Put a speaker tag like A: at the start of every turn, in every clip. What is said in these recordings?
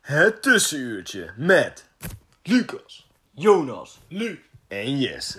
A: Het tussenuurtje met Lucas
B: Jonas.
A: en Jesse.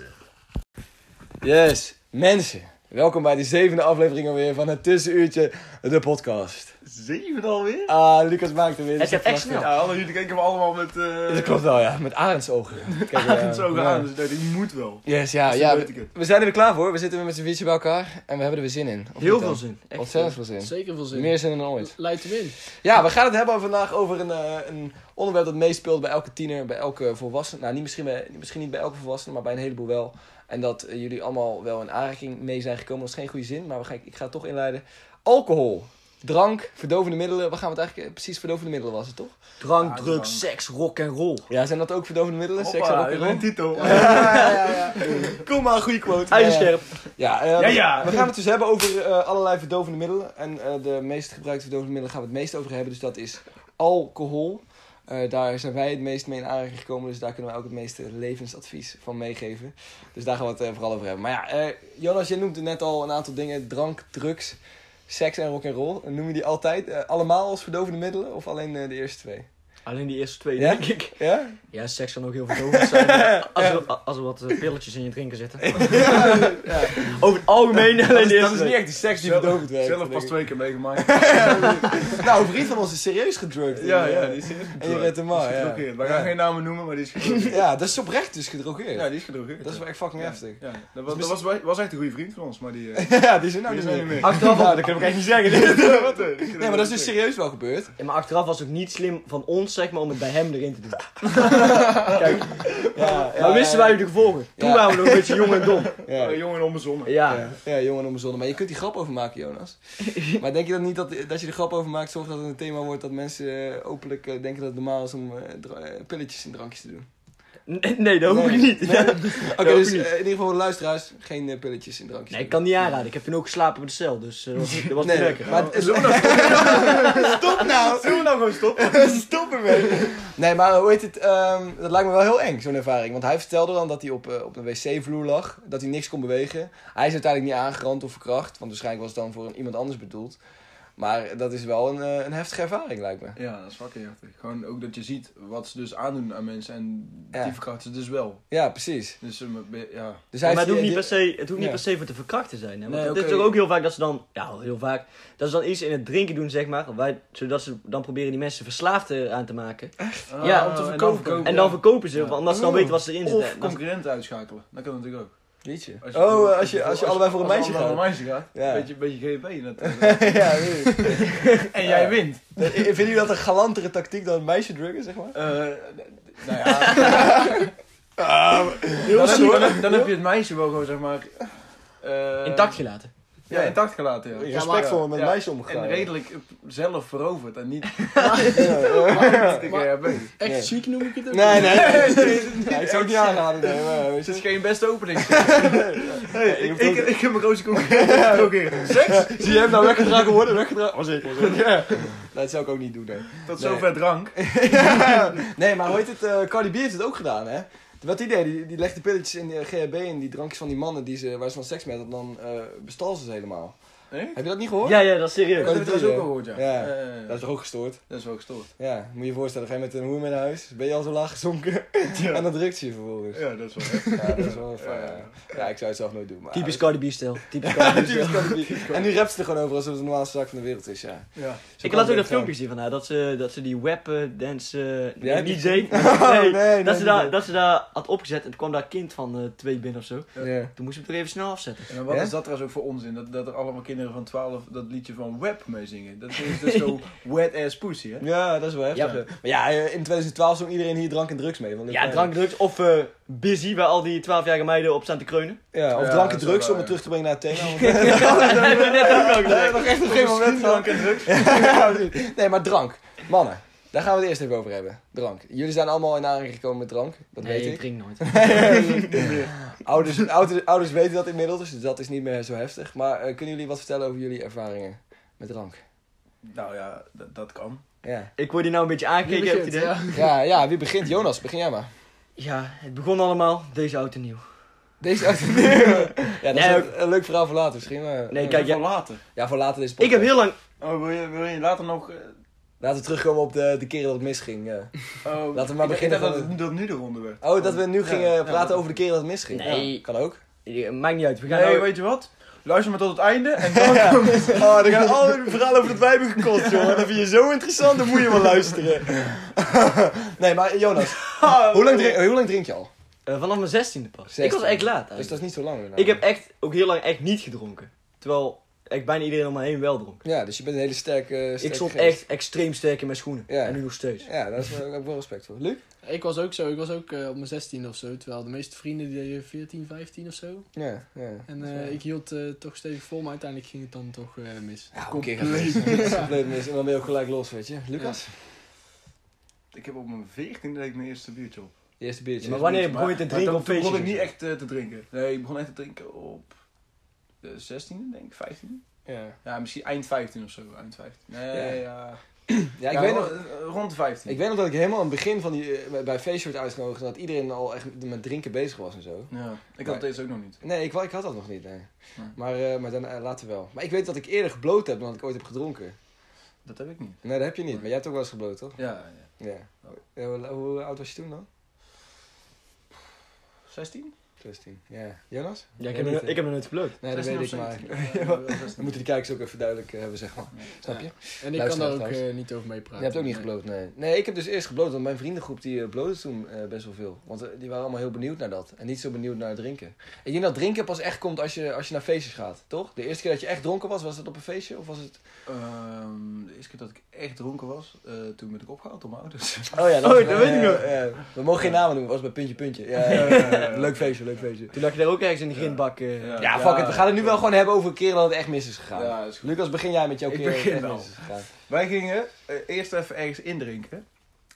B: Yes, mensen. Welkom bij de zevende aflevering alweer van het Tussenuurtje, de podcast.
A: Zeven alweer?
B: Ah, Lucas maakt er weer.
C: Het gaat echt snel.
A: Ja, alle jullie keken we allemaal met eh
B: Ah, Dat klopt wel, ja. Met arendsogen. Kijk, eh,
A: het zo
B: ja.
A: aan. Dus ik dacht, die moet wel.
B: Yes, ja.
A: Dus
B: ja
A: dan weet ik
B: we,
A: het.
B: we zijn er weer klaar voor. We zitten weer met z'n viertje bij elkaar. En we hebben er weer zin in. Of
C: Heel
B: niet
C: veel
B: dan?
C: zin. Echt
B: Ontzettend veel zin.
C: Zeker veel zin.
B: Meer zin dan ooit.
C: Leidt hem in.
B: Ja, we gaan het hebben vandaag over een, eh, een onderwerp dat meespeelt bij elke tiener, bij elke volwassene. Nou, niet misschien, bij, misschien niet bij elke volwassene, maar bij een heleboel wel. En dat eh, jullie allemaal wel in aanraking mee zijn gekomen. Dat is geen goede zin, maar we gaan, ik ga het toch inleiden. Alcohol, drank, verdovende middelen. Waar gaan we het eigenlijk... eh, Precies, verdovende middelen was het, toch?
C: Drank,
A: Ja, drank.
C: drugs, seks, rock en roll.
B: Ja, zijn dat ook verdovende middelen? Seks en
A: Hoppa,
B: rock'n'roll?
A: een titel.
B: Kom maar, goede quote.
C: IJzerscherp.
B: Ja, eh,
A: Ja, ja.
B: we gaan het dus hebben over eh, allerlei verdovende middelen. En eh, de meest gebruikte verdovende middelen gaan we het meest over hebben. Dus dat is alcohol. Eh, daar zijn wij het meest mee in aanraking gekomen. Dus daar kunnen wij ook het meeste levensadvies van meegeven. Dus daar gaan we het eh, vooral over hebben. Maar ja, eh, Jonas, je noemde net al een aantal dingen. Drank, drugs, seks en rock'n'roll. Noem je die altijd eh, allemaal als verdovende middelen? Of alleen eh, de eerste twee?
C: Alleen die eerste twee,
B: Ja?
C: denk ik.
B: Ja?
C: Ja, seks kan ook heel verdovend zijn. maar Als er, als er wat eh, pilletjes in je drinken zitten. Over het algemeen
B: Dat
C: alleen
B: is,
C: de
B: dat
C: eerste
B: is niet
C: twee.
B: echt die seks die
A: Zelf-
B: verdovend werkt.
A: Zelf
B: denk
A: pas
B: ik.
A: twee keer meegemaakt.
B: Nou, een vriend van ons is serieus gedrukt.
A: ja,
B: Eh,
A: ja, die is serieus
B: En je redt hem maar, ja.
A: gedrogeerd. We gaan
B: Ja.
A: geen namen noemen, maar die is gedrogeerd.
B: Ja, dat is oprecht dus gedrogeerd.
A: ja, die is gedrogeerd.
B: dat is wel echt fucking
A: Ja.
B: heftig.
A: Ja, dat was, dat was, wel- was echt een goede vriend van ons, maar die... eh,
B: ja, die zijn nou
A: die
B: niet
A: is nou niet
B: meer.
A: meer.
C: Achteraf,
B: Nou, dat kunnen we echt niet zeggen.
A: Nee,
B: Nee, maar dat is dus serieus wel gebeurd.
C: Ja, maar achteraf was het ook niet slim van ons, zeg maar, om het bij hem erin te doen. Kijk,
B: Ja,
C: maar wisten wij de gevolgen? Toen
B: Ja.
C: waren we nog een beetje jong en dom.
B: Ja,
A: Eh, Jongen onbezonnen.
C: Ja.
B: ja jongen onbezonnen. Maar je kunt die grap over maken, Jonas. Maar denk je dan niet dat, dat je er grap over maakt, zorgt dat het een thema wordt dat mensen eh, openlijk eh, denken dat het normaal is om eh, dra- eh, pilletjes en drankjes te doen?
C: N- Nee, dat hoop ik niet.
B: Nee.
C: Nee,
B: Oké,
C: hoop
B: dus
C: ik niet.
B: eh, in ieder geval voor de luisteraars, geen eh, pilletjes en drankjes.
C: ik kan niet aanraden. Ik heb toen ook geslapen op de cel, dus eh, dat was, niet- dat was niet
B: Nee,
C: lekker.
B: maar het- Stop nou!
A: Zullen we nou gewoon stoppen?
B: Stop ermee. Nee, maar hoe heet het? ehm, dat lijkt me wel heel eng, zo'n ervaring. Want hij vertelde dan dat hij op, eh, op een wc-vloer lag. Dat hij niks kon bewegen. Hij is uiteindelijk niet aangerand of verkracht. Want waarschijnlijk was het dan voor een- iemand anders bedoeld. Maar dat is wel een, eh, een heftige ervaring, lijkt me.
A: Ja, dat is fucking heftig. Gewoon ook dat je ziet wat ze dus aandoen aan mensen en
B: Ja.
A: die verkrachten ze dus wel.
B: Ja, precies.
A: Dus eh, maar- ja.
B: Dus
C: Ja,
B: hij
C: maar het
B: heeft-
C: hoeft niet per
B: die-
C: se, het hoeft
B: Ja.
C: niet per se voor te verkrachten zijn. Hè? Want
B: Nee,
C: het is
B: oké.
C: toch ook heel vaak dat ze dan, ja heel vaak, dat ze dan iets in het drinken doen zeg maar, wij, zodat ze dan proberen die mensen verslaafd eraan te maken. Ja,
A: Ah,
C: om te
A: en dan
C: verkopen.
A: verkopen,
C: En dan
A: ja.
C: verkopen ze,
A: Ja.
C: want omdat ze dan
B: Oh.
C: weten wat ze erin zit.
A: Of concurrenten uitschakelen. Dat kan natuurlijk ook.
B: Liedje.
A: Als je-
B: Oh, eh, als je, als
A: als-
B: je allebei voor een
A: als
B: meisje
A: allemaal
B: gaat.
A: voor een meisje gaat.
B: Ja.
A: Beetje, beetje GP natuurlijk.
B: ja, weet ik.
A: en jij wint.
B: Eh, Vinden jullie dat een galantere tactiek dan een meisje drukken, zeg maar?
A: Eh, nou ja. dan, heb,
B: ziek.
A: dan heb- dan heb je het meisje wel gewoon zeg maar... eh,
C: intact gelaten.
A: Ja, intact gelaten. Ja.
B: Respectvol met
A: Ja,
B: meisje omgegaan.
A: En redelijk zelf veroverd en niet...
B: Ja, ja.
A: dikke GHB.
B: Echt Nee.
C: ziek noem ik het
B: Nee, nee. Ja, ik zou het niet aanraden, nee. Maar, weet
A: Het
B: je.
A: is geen beste opening.
B: Hey, je
A: ik,
B: hoeft
A: ik,
B: ook-
A: ik heb een roze concurrent. Seks?
B: Zie je hem nou weggedragen worden? Weggedragen? Was ik, was ik. Dat zou ik ook niet doen, nee.
A: Tot
B: Nee.
A: zover drank.
B: nee, maar hoe heet het? eh, Cardi B heeft het ook gedaan, hè? Wat die deed, die, die legde pilletjes in de GHB en die drankjes van die mannen die ze, waar ze van seks mee hadden, dan eh, bestal ze ze helemaal.
A: Echt?
B: Heb je dat niet gehoord?
C: Ja, ja, dat is
A: Ik heb
C: serieus.
B: dat
A: het trouwens
B: doe
A: ook
B: je.
A: al gehoord, ja.
B: Ja.
A: Ja, ja, ja.
B: Dat is toch ook gestoord?
A: Dat is wel gestoord.
B: Ja, moet je je voorstellen, ga je met een hoer mee naar huis, ben je al zo laag gezonken en dan drukt ze je vervolgens. Ja,
A: Ja, dat is wel echt.
B: dat is wel fijn. Ja, ja ik zou het zelf nooit doen. Maar
C: Typisch Cardi B-stijl. Typisch
B: Ja,
C: Cardi B-stijl.
B: typisch Cardi B. En nu rapt ze er gewoon over alsof het de normaalste zaak van de wereld is, ja.
A: Ja.
C: Ik laat ook
B: filmpje
C: dat filmpje zien van haar, dat ze, dat ze die web eh, dance eh,
B: Ja, die- Oh,
C: nee, niet deed.
B: nee,
C: Nee,
B: nee,
C: dat, ze
B: niet
C: daar,
B: deed.
C: dat ze daar had opgezet en toen kwam daar een kind van eh, twee binnen of zo.
B: Ja.
C: Toen moest ik het er even snel afzetten.
A: En wat
B: Ja?
A: is dat trouwens ook voor onzin? Dat, dat er allemaal kinderen van 12 dat liedje van Web mee zingen. Dat is dus zo wet ass pussy, hè?
B: Ja, dat is wel heftig.
C: Ja.
B: hè. Maar ja, eh, in 2012 zong iedereen hier drank en drugs mee. Want ik,
C: Ja,
B: eh,
C: drank, drugs of eh, busy, waar al die 12-jarige meiden op staan te kreunen.
B: Ja, of
A: Ja,
B: drank en
A: dat is wel
B: drugs, om
A: waar,
B: het terug te brengen naar het thema. want-
C: dat hebben we net ook al gezegd.
B: nog echt op geen moment
A: Drank en drugs.
B: Ja, precies. nee, maar drank. Mannen, daar gaan we het eerst even over hebben. Drank. Jullie zijn allemaal in aanraking gekomen met drank. Dat
C: Nee, ik
B: weet ik.
C: drink nooit.
B: Ouders, ouders, ouders weten dat inmiddels, dus dat is niet meer zo heftig. Maar eh, kunnen jullie wat vertellen over jullie ervaringen met drank?
A: Nou ja, dat, dat kan.
B: Ja.
C: Ik word hier nou een beetje
D: Wie
C: aangekeken, heb je
D: begint,
C: idee? Ja.
D: ja.
B: Ja, ja, wie begint? Jonas, begin jij maar.
C: het begon allemaal deze auto nieuw.
B: Deze auto. ja, dat is
C: Nee,
B: een- een, leuk verhaal voor later misschien. Maar,
C: Nee,
B: ja.
C: kijk,
A: Voor
C: ja,
A: later.
B: Ja, voor later deze
C: ik
B: podcast.
C: heb heel lang...
A: Oh, wil je, wil je later nog... eh,
B: Laten we terterugkomen op de, de keren dat het misging. ja.
A: Oh,
B: Laten we maar
A: ik- ik
B: beginnen
A: dacht
B: van
A: dat, het- dat nu de ronde werd.
B: Oh, dat we nu
A: Ja,
B: gingen
A: ja,
B: praten
A: dat-
B: over de keren dat het misging.
C: Nee.
B: Ja, kan ook.
C: Eh, Maakt niet uit, we gaan
A: Nee,
C: nou-
A: weet je wat? Luister maar tot het einde en dan...
B: Oh, dan gaan al hun verhalen over het wijven gekost, joh. Dat vind je zo interessant, dan moet je wel luisteren. nee, maar Jonas,
A: Oh,
B: hoe lang drink, hoe lang drink je al?
C: Eh, vanaf mijn zestiende pas. Ik was
B: 16e.
C: echt laat eigenlijk.
B: Dus dat is niet zo lang. inderdaad.
C: Ik heb echt ook heel lang echt niet gedronken. Terwijl echt bijna iedereen om me heen wel dronk.
B: Ja, dus je bent een hele sterke... eh,
C: Ik
B: sterke
C: stond
B: geest.
C: echt extreem sterk in mijn schoenen.
B: Ja.
C: En nu nog steeds.
B: Ja, daar is wel- heb ik wel respect voor. Luc?
D: Ik was ook zo, ik was ook eh, op mijn 16 of zo. Terwijl de meeste vrienden die deden 14, 15 of zo.
B: Ja, ja.
D: En eh, ik hield eh, toch stevig vol, maar uiteindelijk ging het dan toch eh, mis.
B: Ja, een keer gaat het mis. Het is compleet mis. En dan ben je ook gelijk los, weet je. Lucas?
A: Ik heb op mijn 14 deed ik mijn eerste biertje op.
B: Je eerste biertje.
C: maar wanneer begon je te
A: Maar
C: drinken
A: toen-
C: op
A: Toen
C: feestjes?
A: begon ik niet
C: en zo?
A: echt eh, te drinken. Nee, ik begon echt te drinken op de 16e, denk ik, 15e.
B: Ja,
A: Ja, misschien eind 15 of zo, eind 15.
B: Ja.
A: Nee, ja.
B: ja ik
A: Ja,
B: weet
A: ro-
B: nog...
A: eh, Rond de 15.
B: Ik weet nog dat ik helemaal aan het begin van die, eh, bij- bij feestje werd uitgenodigd en dat iedereen al echt met drinken bezig was en zo.
A: Ja, ik
B: Maar-
A: had deze ook nog niet.
B: Nee, ik, wa- ik had dat nog niet, nee.
A: Nee.
B: Maar, eh, maar dan, eh, later wel. Maar ik weet dat ik eerder gebloot heb dan dat ik ooit heb gedronken.
A: Dat heb ik niet.
B: Nee, dat heb je niet. Maar jij hebt ook wel eens gebloot, toch?
A: Ja, ja.
B: Ja. Ja, hoe, hoe oud was je toen dan?
A: 16?
B: 16. Ja. Jonas?
C: Ja,
B: Jij
C: ik heb,
B: niet,
C: nog-
B: hè?
C: ik heb nog nooit geplukt.
B: Nee, dat weet ik maar. Dan moeten die kijkers ook even duidelijk eh, hebben, zeg maar. Snap je?
D: En ik
B: Luister
D: kan
B: nog
D: daar ook
B: thuis.
D: eh, niet over meepraten.
B: Je hebt ook niet
D: Nee.
B: gebloot, nee. Nee, ik heb dus eerst gebloot, want mijn vriendengroep die eh, blootte toen eh, best wel veel. Want eh, die waren allemaal heel benieuwd naar dat. En niet zo benieuwd naar drinken. Ik denk dat drinken pas echt komt als je, als je naar feestjes gaat, toch? De eerste keer dat je echt dronken was, was dat op een feestje? Of was het...
A: Ehm, de eerste keer dat ik echt dronken was, eh, toen werd ik opgehaald door mijn ouders.
B: Oh ja,
C: Oh, dat weet ik nog.
B: ja, ja. we mogen geen namen noemen, was bij Puntje Puntje. Ja, ja, ja. leuk feestje, leuk feestje.
C: Toen lag je daar ook ergens in de grindbak.
A: Ja.
C: eh, ja.
B: Ja, fuck it, we gaan het nu wel gewoon hebben over een keer dat het echt mis is gegaan.
A: Ja, is goed.
B: Lucas, begin jij met jouw
A: Ik
B: keer dat het
A: begin
B: echt
A: wel.
B: mis is gegaan.
A: Wij gingen eh, eerst even ergens indrinken.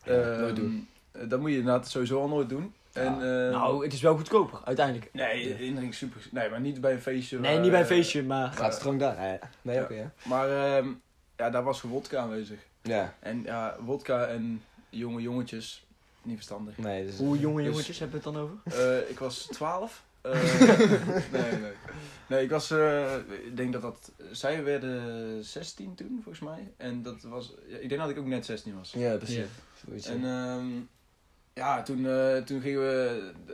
B: Ja,
A: Ehm,
B: nooit doen.
A: eh, Dat moet je inderdaad sowieso al nooit doen. En, ehm,
C: Nou, het is wel goedkoper, uiteindelijk.
A: Nee, eh, indrinken super. Nee, maar niet bij een feestje.
C: Nee,
A: waar,
C: niet bij een
A: eh,
C: feestje, maar...
B: Gaat het gewoon daar? Ja. Nee,
A: Ja.
B: oké, ja.
A: Maar ehm, ja, daar was wodka aanwezig.
B: Ja,
A: En ja, wodka en jonge jongetjes, niet verstandig.
B: nee, dus...
C: Hoe jonge
A: Dus-
C: jongetjes hebben we het dan over?
A: Eh, ik was 12. Eh, nee, nee. Nee, ik was. eh, ik denk dat dat. Zij werden 16 toen, volgens mij. En dat was. ja, ik denk dat ik ook net 16 was.
B: Ja, precies.
D: Ja.
B: Zoiets, ja.
A: En ehm, ja, toen, eh, toen gingen we eh,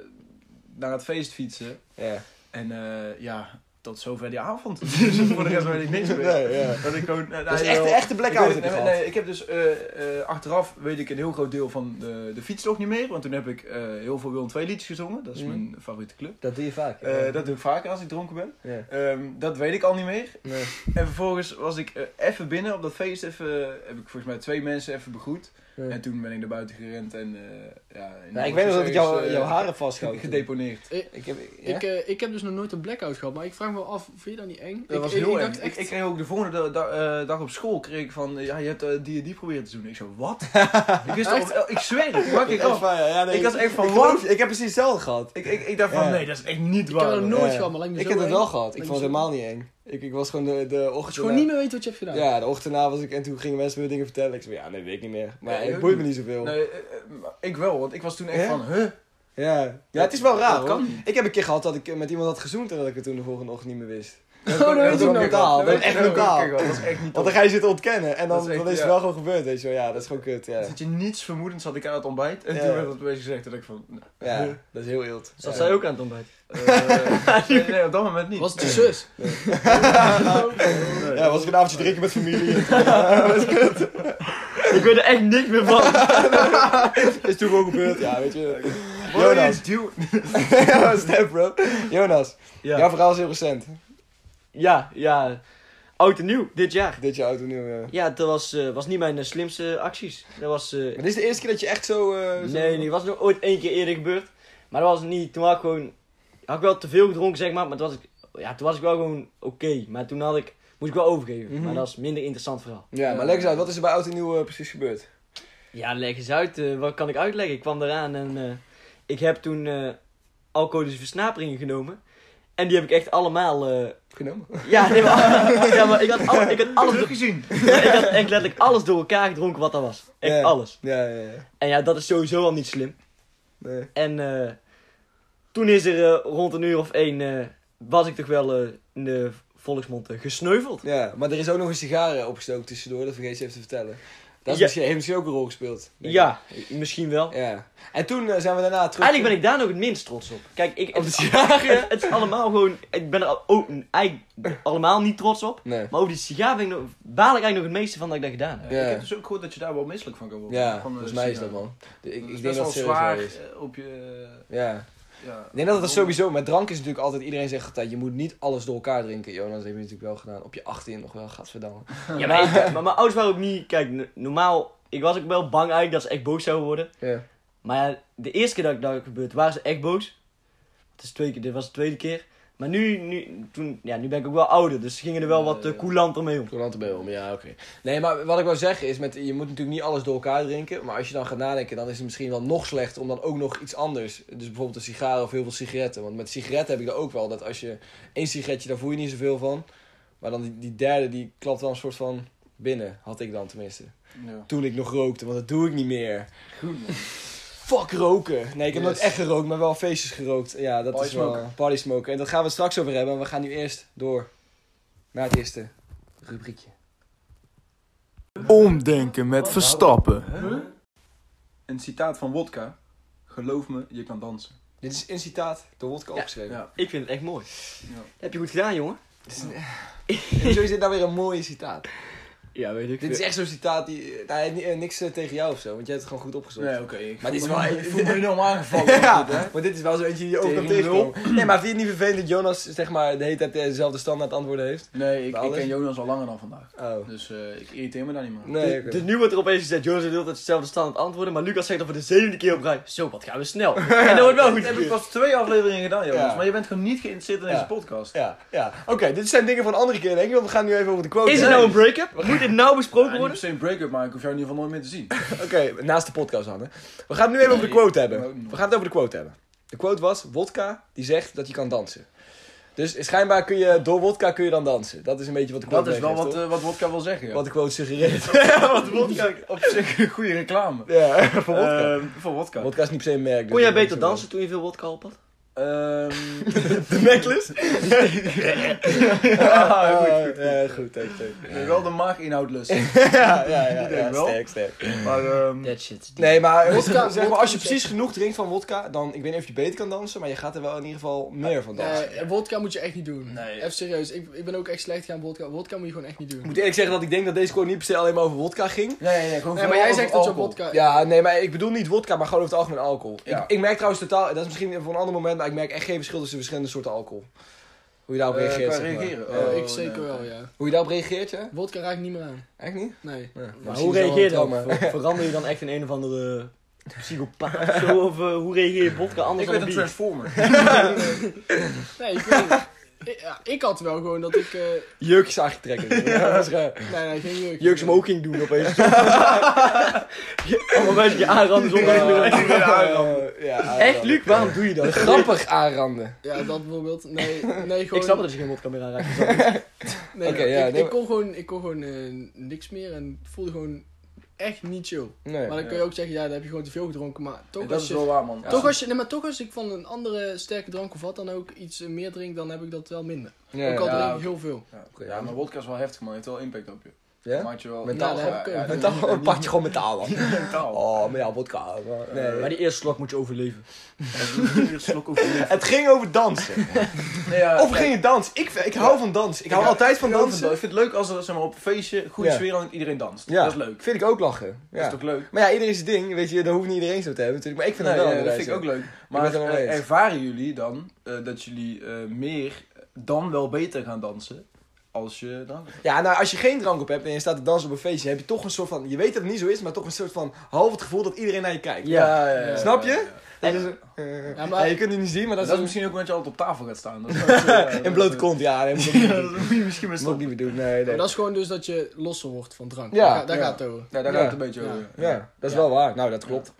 A: naar het feest fietsen.
B: ja.
A: En eh, ja, tot zover die avond. Dus voor de rest weet ik niks meer.
B: Nee, ja.
A: Dat ik gewoon. eh,
B: Dat is
A: nou,
B: echt een
A: wel-
B: echte blackout
A: ik
B: heb
A: weet-
B: je
A: nee,
B: gehad.
A: nee, ik heb dus eh, eh, achteraf weet ik een heel groot deel van de, de fiets nog niet meer. Want toen heb ik eh, heel veel Willem II liedjes gezongen. Dat is
B: Mhm.
A: mijn favoriete club.
B: Dat doe je vaak. ja.
A: Eh, dat doe ik vaker als ik dronken ben.
B: Ja.
A: Ehm, dat weet ik al niet meer.
B: Nee.
A: En vervolgens was ik eh, even binnen op dat feest. Even, eh, heb ik volgens mij twee mensen even begroet.
B: Ja.
A: En toen ben ik naar buiten gerend. En, eh, ja, in
B: Nou, ik
A: alles
B: weet nog dat ik jou,
A: ergens, eh,
B: jouw haren
A: ge-
B: vasthoud.
A: Gedeponeerd.
B: Ik heb... ja?
D: Ik, eh, ik heb dus nog nooit een blackout gehad, maar ik vraag me af, vind je dat niet eng?
A: Dat
D: ik,
A: was
D: ik-
A: heel
D: ik
A: erg.
D: dacht
A: Ik,
D: echt-
A: ik kreeg ook de volgende da- da- eh, dag op school kreeg ik van, ja, je hebt eh, die en die proberen te doen. Ik zo, wat? ik wist al, eh, ik zweer het, ik maak ik
B: Echt
A: af.
B: waar, ja, ja, nee,
A: Ik was echt van,
B: Oh. ik geloof
A: wat?
B: je, Ik heb precies hetzelfde gehad.
A: Ik, ik, ik dacht van,
B: Ja.
A: nee, dat is echt niet
D: ik heb
A: waar.
D: dat nog
B: Ja,
D: nooit
B: ja.
D: gehad, maar lijkt me
B: Ik
D: zo
B: heb dat
D: eng.
B: wel gehad. Ik
D: Lijkt
B: vond
D: me
B: het
D: zo
B: helemaal niet eng. Ik, ik was gewoon de, de
D: Dat
B: ochtend...
D: je gewoon niet meer weet wat je hebt gedaan.
B: Ja, de ochtend na was ik en toen gingen mensen me dingen vertellen. Ik zei, ja, nee, weet ik niet meer. Maar
A: Nee,
B: het
A: ook
B: boeit me
A: niet.
B: niet zoveel.
A: Nee, eh, eh, maar ik wel, want ik was toen echt
B: Ja?
A: van, huh?
B: Ja. ja, het is wel raar
A: Dat kan
B: hoor.
A: niet.
B: Ik heb een keer gehad dat ik eh, met iemand had gezoend en dat ik het toen de volgende ochtend niet meer wist.
D: Oh, dat weet ik
B: ook
D: nog.
B: lokaal,
A: Dat
B: dat is
A: weet ik
B: echt
A: nog.
B: lokaal.
A: Kijk, Dat is echt niet
B: Want
A: top.
B: dan ga je zitten ontkennen en dan
A: Dat
B: dan
A: is
B: is,
A: echt-
B: het
A: ja.
B: wel gewoon gebeurd, weet je wel. Ja, dat is gewoon kut, ja.
A: Dat je niets vermoedend zat ik aan het ontbijt. En
B: Ja.
A: toen werd dat opeens gezegd. En ik van... nou,
B: Ja, dat is heel ild.
C: Zat
B: Ja.
C: zij ook aan het ontbijt?
A: eh, nee, nee, op dat moment niet.
D: Was het je zus?
B: Ja, was ik een avondje drinken met familie.
C: Ik weet er echt niks meer van.
B: is toen gewoon gebeurd, ja, weet je. Jonas.
A: Jonas. Duw...
B: Snap, bro. Jonas, jouw
C: Ja,
B: verhaal is heel recent.
C: ja, ja. Oud en nieuw, dit jaar.
B: Dit je auto nieuw, ja.
C: Ja, dat was, eh, was niet mijn eh, slimste acties. Dat was... eh,
B: Maar dit is de eerste keer dat je echt zo... eh, zo-
C: nee, die was nog ooit één keer eerder gebeurd. Maar dat was niet... Toen had ik gewoon... Had ik wel te veel gedronken, zeg maar. Maar toen was ik, ja, toen was ik wel gewoon oké. Maar toen had ik... Moest ik wel overgeven.
B: Mhm.
C: Maar dat is minder interessant verhaal.
B: Ja, maar leg eens uit, wat is er bij auto nieuw eh, precies gebeurd?
C: Ja, leg eens uit. eh, wat kan ik uitleggen? Ik kwam eraan en eh, ik heb toen eh, alcoholische versnaperingen genomen. En die heb ik echt allemaal... eh,
B: Genomen.
C: ja, nee, maar, ja, maar ik had, al, ik had alles... door-
A: gezien.
C: ik had echt letterlijk alles door elkaar gedronken wat er was. Echt
B: Ja.
C: alles.
B: Ja, ja, ja.
C: En ja, dat is sowieso al niet slim.
B: Nee.
C: En eh, toen is er eh, rond een uur of één, eh, was ik toch wel eh, in de volksmond eh, gesneuveld.
B: Ja, maar er is ook nog een sigaren opgestoken tussendoor, dat vergeet je even te vertellen. Dat is
C: Ja.
B: misschien, heeft misschien ook een rol gespeeld. denk ik.
C: Ja, misschien wel.
B: ja. En toen eh, zijn we daarna terug...
C: Eigenlijk ben ik daar nog het minst trots op. Kijk, ik,
B: Op
C: het,
B: de
C: is,
B: sigaren?
C: het- het is allemaal gewoon, ik ben er al- ook eigenlijk allemaal niet trots op.
B: Nee.
C: Maar over die sigaar ben ik nog, baal ik eigenlijk nog het meeste van dat ik dat gedaan heb.
B: Ja.
A: Ik heb dus ook gehoord dat je daar wel misselijk van kan worden.
B: Ja,
A: Van, eh,
B: volgens mij is dat
A: sigaar.
B: man. De- Ik,
A: Dat
B: ik
A: is
B: denk
A: best
B: dat
A: wel
B: het serieus waar
A: zwaar
B: is.
A: eh, op je...
B: Ja.
A: Ja.
B: Ik denk dat het sowieso, met drank is natuurlijk altijd, iedereen zegt altijd, je moet niet alles door elkaar drinken. Jonas heeft het natuurlijk wel gedaan, op je 18 nog wel, gadverdamme.
C: Ja, maar, ik- maar mijn ouders waren ook niet, kijk, n- normaal, ik was ook wel bang eigenlijk dat ze echt boos zouden worden.
B: Ja.
C: Maar ja, de eerste keer dat ik dat gebeurd, waren ze echt boos. Het is twee keer, dit was de tweede keer. Maar nu, nu, toen, ja, nu ben ik ook wel ouder, dus ze gingen er wel wat
A: Ja,
C: eh,
A: ja.
C: coulanter mee om.
B: Coulant erbij om, ja, oké. Nee, maar wat ik wil zeggen is, met, je moet natuurlijk niet alles door elkaar drinken. Maar als je dan gaat nadenken, dan is het misschien wel nog slechter om dan ook nog iets anders. Dus bijvoorbeeld een sigaar of heel veel sigaretten. Want met sigaretten heb ik dat ook wel. Dat als je één sigaretje, daar voel je niet zoveel van. Maar dan die, die derde, die klapt dan een soort van binnen. Had ik dan tenminste.
A: Ja.
B: Toen ik nog rookte, want dat doe ik niet meer.
A: Goed man.
B: Fuck roken. Nee, ik
A: Yes.
B: heb nooit echt gerookt, maar wel feestjes gerookt. Ja, dat
A: Party
B: is wel
A: smoker.
B: party smoken. En dat gaan we het straks over hebben. Maar we gaan nu eerst door naar het eerste rubriekje.
E: Omdenken met Verstappen.
A: Een citaat van Wodka. Geloof me, je kan dansen.
B: Dit is in citaat door Wodka
C: Ja.
B: opgeschreven.
A: Ja.
C: Ik vind het echt mooi. Heb je goed gedaan, jongen?
B: Hoezo is dit nou weer een mooie citaat?
C: Ja, weet ik.
B: Dit is echt zo'n citaat die... Nou, hij heeft ni- eh, niks eh, tegen jou of zo, want jij hebt het gewoon goed opgezocht.
A: Nee, oké. ik
B: Maar
A: voel
B: dit is
A: me-
B: wel-
A: Ik voel me enorm aangevallen.
B: Ja,
A: Goed, hè?
B: maar dit is wel zo eentje die je ook kan
A: Tegen nul.
B: tegenkomen. Nee, maar vind je het niet vervelend dat Jonas zeg maar, de hele tijd eh, dezelfde standaard antwoorden heeft?
A: Nee, ik,
B: Maar
A: ik
B: alles-
A: ken Jonas al langer dan vandaag.
B: Oh.
A: Dus eh, ik irriteer me daar niet meer aan.
B: Nee, oké.
C: Dus nu wordt er opeens gezegd, Jonas wil altijd hetzelfde standaard antwoorden, maar Lucas zegt dat we de zevende keer op rij. Zo, wat gaan we snel. En dat wordt wel
A: Dat
C: goed
A: heb ik
C: gekeurd.
A: pas twee afleveringen gedaan, Jonas.
B: Ja.
A: Maar je bent gewoon niet geïnteresseerd in
B: Ja.
A: deze podcast.
B: Ja, ja. Oké, dit zijn dingen voor een andere keer, denk ik, want we gaan nu even over de quote.
C: Is
B: hebben.
C: het nou een break-up? Moet dit nou
A: Ja,
C: besproken
A: niet per
C: worden?
A: se een break-up, maar ik hoef jou in ieder geval nooit meer te zien.
B: Oké, naast de podcast aan, hè. We gaan het nu even over de quote hebben. We gaan het over de quote hebben. De quote was, Wodka, die zegt dat je kan dansen. Dus schijnbaar kun je, door Wodka kun je dan dansen. Dat is een beetje wat de quote
A: Dat is wel
B: meegeeft,
A: wat,
B: toch?
A: eh, wat Wodka wil zeggen, ja.
B: Wat de quote suggereert.
A: wat Wodka... Op zich een goede reclame.
B: Ja, voor wodka.
A: Ehm, voor Wodka.
B: wodka is niet per se een merk. dus
C: Kon jij
B: dat
C: beter
B: is wel-
C: dansen toen je veel wodka op had?
A: Ehm,
B: De necklace?
A: ah, goed.
B: goed, ja, goed, thanks, thanks.
A: Nee, wel de maaginhoud lust.
B: Ja, ja, ja,
A: denk
B: ja,
A: wel.
B: sterk, sterk.
A: maar ehm,
C: That shit.
B: Nee, maar, wodka, zeg
D: wodka
B: maar als je
D: moet
B: precies genoeg drinkt van wodka, dan, ik weet niet of je beter kan dansen, maar je gaat er wel in ieder geval meer van dansen.
D: Nee, Eh, wodka moet je echt niet doen.
A: Nee.
D: Even serieus, ik, ik ben ook echt slecht gaan wodka. Wodka moet je gewoon echt niet doen.
B: Ik moet eerlijk zeggen dat ik denk dat deze quote niet per se alleen maar over wodka ging.
A: nee, nee, nee, gewoon
D: nee, maar jij zegt dat je op
A: Wodka.
D: wodka...
B: Ja, nee, maar ik bedoel niet wodka, maar gewoon over het algemeen alcohol.
A: Ja.
B: Ik, ik merk trouwens totaal, dat is misschien voor een ander moment, maar ik merk echt geen verschil tussen verschillende soorten alcohol. Hoe je daarop
A: Eh,
B: reageert,
A: qua
B: zeg maar.
A: reageren?
B: Ja.
D: Eh,
A: Oh,
D: ik zeker
A: nee,
D: wel,
A: oké.
D: ja.
B: Hoe je daarop reageert, hè?
D: Wodka raak ik niet meer aan.
B: Echt niet?
D: Nee.
B: Ja,
C: Maar
B: misschien
C: hoe
B: is dat wel
C: reageer je
B: een
C: dan?
B: trauma.
C: Ver- Verander je dan echt in een of andere psychopaat of zo? Of eh, hoe reageer je op wodka anders
A: Ik
C: dan
A: ben een
C: op bier?
A: transformer.
D: Nee, ik weet het niet. Ik, ja, ik had wel gewoon dat ik... eh
B: Jurkjes aangetrekken. Ja, dat is eh, raar.
D: nee, nee, geen jeuk.
C: Jurk smoking doen opeens. Allemaal mensen die aanranden zonder
B: Ja,
C: dat je-
B: aanranden. Ja,
C: Echt,
B: aanranden.
C: Luc, waarom doe je dat?
B: Grappig aanranden.
D: Ja, dat bijvoorbeeld. Nee, nee gewoon...
C: Ik snap het dat je geen wodka meer aanraakt.
D: Nee,
B: Oké, ja,
D: ik,
B: nee,
D: ik kon gewoon, ik kon gewoon eh, niks meer en voelde gewoon echt niet chill.
B: Nee.
D: Maar dan
A: Ja.
D: kun je ook zeggen, ja, dan heb je gewoon te veel gedronken. Maar toch
A: dat
D: als
A: is
D: je...
A: wel waar, man.
D: Toch als je, nee, maar toch als ik van een andere sterke drank of wat dan ook iets eh, meer drink, dan heb ik dat wel minder.
B: Ja,
D: ook al
B: ja.
A: ja,
D: drink ik
A: oké.
D: heel veel.
A: Ja, oké. Ja, maar wodka is wel heftig, man. Het heeft wel impact op je.
B: Ja?
A: Maakt je wel...
B: Mentaal,
D: Ja, dat heb ik ook.
A: ja,
B: Mentaal, een pakje gewoon metaal man.
A: Mentaal.
B: Oh, maar ja, wodka. maar- Nee.
C: Maar die eerste slok moet je overleven.
B: Het ging over dansen.
A: Nee, ja,
B: Of
A: ja,
B: ging het dans? Ik, ik hou van dans. Ik hou
A: hou-
B: altijd van
A: Eh, ik hou
B: dansen.
A: Ik vind het leuk als er zeg maar, op een feestje goede
B: Ja.
A: sfeer hangt en iedereen danst.
B: Ja,
A: Dat is leuk.
B: Vind ik ook lachen.
A: Dat
B: Ja.
A: is toch leuk?
B: Maar ja, iedereen zijn ding. Weet je, daar hoeft niet iedereen zo te hebben natuurlijk. Maar ik vind
A: Nee,
B: het wel
A: ja, dat
B: inderdaad
A: vind ik ook
B: zo.
A: leuk.
B: ben
A: Maar
B: het helemaal
A: eh,
B: eens.
A: ervaren jullie dan eh, dat jullie eh, meer dan wel beter gaan dansen als je dan...
B: Ja, nou, als je geen drank op hebt en je staat te dansen op een feestje, heb je toch een soort van, je weet dat het niet zo is, maar toch een soort van half het gevoel dat iedereen naar je kijkt.
C: Ja.
D: ja,
B: Snap je?
C: En-
B: Dat is een- eh,
D: Ja, maar-
B: ja, je kunt het niet zien, maar dat,
A: Eh, Dat is
B: is
A: misschien ook omdat je altijd op tafel gaat staan. Dat is ook, eh,
B: een... In blote kont, ja. Nee, moet ik niet
A: Ja,
B: doen.
A: dat moet je misschien maar
B: Moet ik
A: stoppen.
B: niet meer doen, nee, nee.
D: Maar dat is gewoon dus dat je losser wordt van drank.
B: Ja,
D: daar ga- daar
A: ja.
D: gaat het over.
A: Ja, daar
B: Ja.
A: gaat het een beetje over.
B: Ja, dat is wel waar. Nou, dat klopt.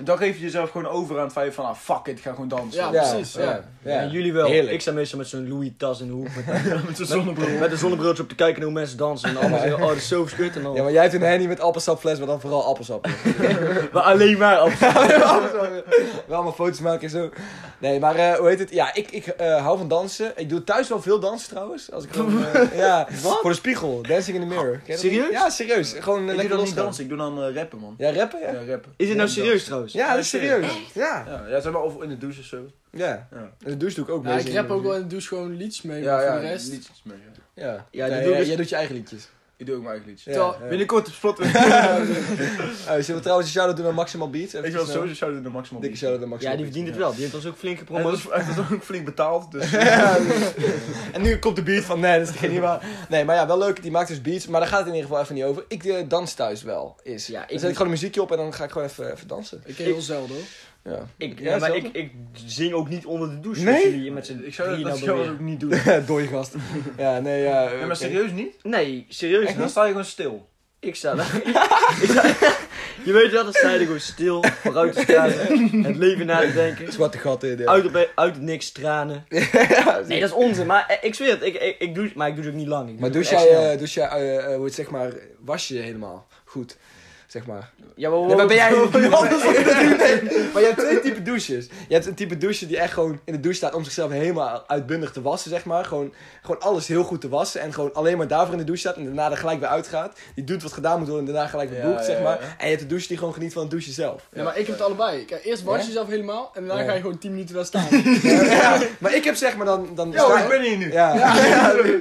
A: Dan geef je jezelf gewoon over aan het feit van, ah fuck it, ik ga gewoon dansen.
D: Ja, precies, ja.
B: ja.
C: En jullie wel.
B: Heerlijk.
C: Ik sta meestal met zo'n Louis tas in de hoek. Met,
A: met zo'n zonnebril.
C: met een zonnebriltje op te kijken naar hoe mensen dansen. En allemaal zeggen, oh dat is zo verschut. En dan,
B: Ja, maar jij hebt een henny met appelsapfles, maar dan vooral appelsap.
C: maar alleen maar op.
B: Wel allemaal foto's maken en zo. Nee, maar eh, hoe heet het? Ja, ik, ik eh, hou van dansen. Ik doe thuis wel veel dansen trouwens. Als ik gewoon, eh, ja, voor de spiegel. Dancing in the mirror. Ken je dat
C: Serieus?
B: niet? Ja, serieus. Gewoon eh,
A: Ik doe
B: lekker
A: dan niet
B: losgaan.
A: dansen, ik doe dan eh, rappen, man.
B: Ja, rappen? Ja,
A: Ja, rappen.
C: Is dit nou
A: Ja,
C: serieus trouwens?
B: ja dat is
A: Ja,
B: serieus. Ja.
A: Ja, ja, zeg maar, of in de douche of zo.
B: ja.
A: Ja.
B: En de douche doe ik ook
D: Ja,
B: mee.
D: ik rap ook wel in de douche gewoon liedjes mee, maar
A: Ja, ja,
D: voor de rest...
A: liedjes mee. ja.
B: Ja,
C: Ja,
B: ja,
C: dat
B: ja,
C: doe ik dus-
B: jij doet je eigen liedjes.
A: Ik doe ook mijn eigen liedjes.
B: Ja,
D: Terwijl-
B: ja.
A: Binnenkort op spot.
B: Eh, zullen we trouwens een shout-out doen aan Maximal Beats?
A: Ik wil sowieso shout-out naar Maximal.
B: Dikke shout-out aan Maximal
C: Ja, die verdient het wel. Die heeft ons ook flink
A: Hij
C: gepromoot.
A: was, hij was ook flink betaald, dus...
B: En nu komt de beat van, nee, dat is geen niet waar. Nee, maar ja, wel leuk. Die maakt dus beats, maar daar gaat het in ieder geval even niet over. Ik eh, dans thuis wel, is.
C: Ja, ik dus-
B: dan zet ik gewoon een muziekje op en dan ga ik gewoon even, even dansen.
D: Ik heel zelden hoor.
B: Ja.
C: Ik,
B: Ja,
C: ja, maar
B: zelden.
C: ik, ik zing ook niet onder de douche.
B: Nee?
C: zoals jullie met z'n
A: Ik zou dat,
C: drieën
A: dat
C: nou
A: zou ik
C: beweren.
A: ook niet doen.
B: Dooie gast. Ja, nee, ja.
A: Ja,
B: oké.
A: maar serieus niet?
C: Nee, serieus.
A: Dan sta je gewoon stil.
C: Ik sta daar. Ik sta- je weet wel, dan sta je er gewoon stil, vooruit te staren, het leven na te denken.
B: Zwarte gat in. ja.
C: Uit, op, uit het niks, tranen. Nee, dat is onzin, maar eh, ik zweer het, ik, ik, ik douche, maar ik douche ook niet lang. Ik
B: Maar
C: doe
B: douche
C: het echt snel.
B: jij, eh, douche jij eh, eh, hoe het zeg maar, was je je helemaal goed? Zeg maar.
C: Ja, maar,
B: Nee, maar ben jij...
C: Ja,
B: Maar je hebt twee typen douches. Je hebt een type douche die echt gewoon in de douche staat om zichzelf helemaal uitbundig te wassen, zeg maar. Gewoon, gewoon alles heel goed te wassen en gewoon alleen maar daarvoor in de douche staat en daarna er gelijk weer uitgaat. Die doet wat gedaan moet worden en daarna gelijk weer
A: Ja,
B: boekt,
A: ja,
B: zeg
A: ja.
B: maar. En je hebt de douche die gewoon geniet van het douchen zelf.
D: Ja, maar ik heb het allebei. Kijk, eerst was je
B: Ja?
D: jezelf helemaal en daarna
B: Ja.
D: ga je gewoon 10 minuten daar staan.
B: Ja, maar ik heb zeg maar dan... dan
A: Yo, ik ben hier nu.
B: Ja.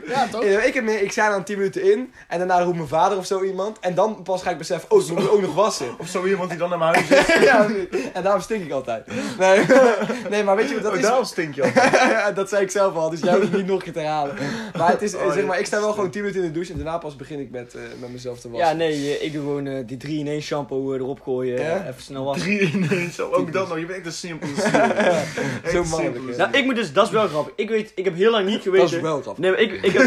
D: ja, toch?
B: Eh, Ik, heb, meer- ik zei dan 10 minuten in en daarna roept mijn vader of zo iemand. En dan pas ga ik beseffen, oh, ze moeten ook nog wassen.
A: Of zo iemand die dan naar mijn huis is.
B: ja, en daarom stink ik altijd. Nee, nee maar weet je wat dat
A: Oh,
B: is?
A: daarom stink je altijd.
B: dat zei ik zelf al, dus jij hoeft het niet nog een keer te herhalen. Maar het is, eh,
A: Oh,
B: zeg
A: dit
B: maar, ik sta wel
A: is-
B: gewoon 10 minuten in de douche en daarna pas begin ik met, eh, met mezelf te
C: ja,
B: wassen.
C: nee, eh, ik doe gewoon eh, die 3 in 1 shampoo eh, erop gooien,
B: Ja?
C: eh, even snel wassen.
A: Drie in één, zo. Ook dat nog. Je bent echt een simpele stier. Echt
B: Zo
A: een
B: mannelijk,
A: simpele
B: hè.
A: stier.
C: Nou, ik moet dus, dat is wel grappig. Ik weet, ik heb heel lang niet
B: dat is
C: geweten.
B: wel grappig.
C: Nee, maar ik, ik, heb,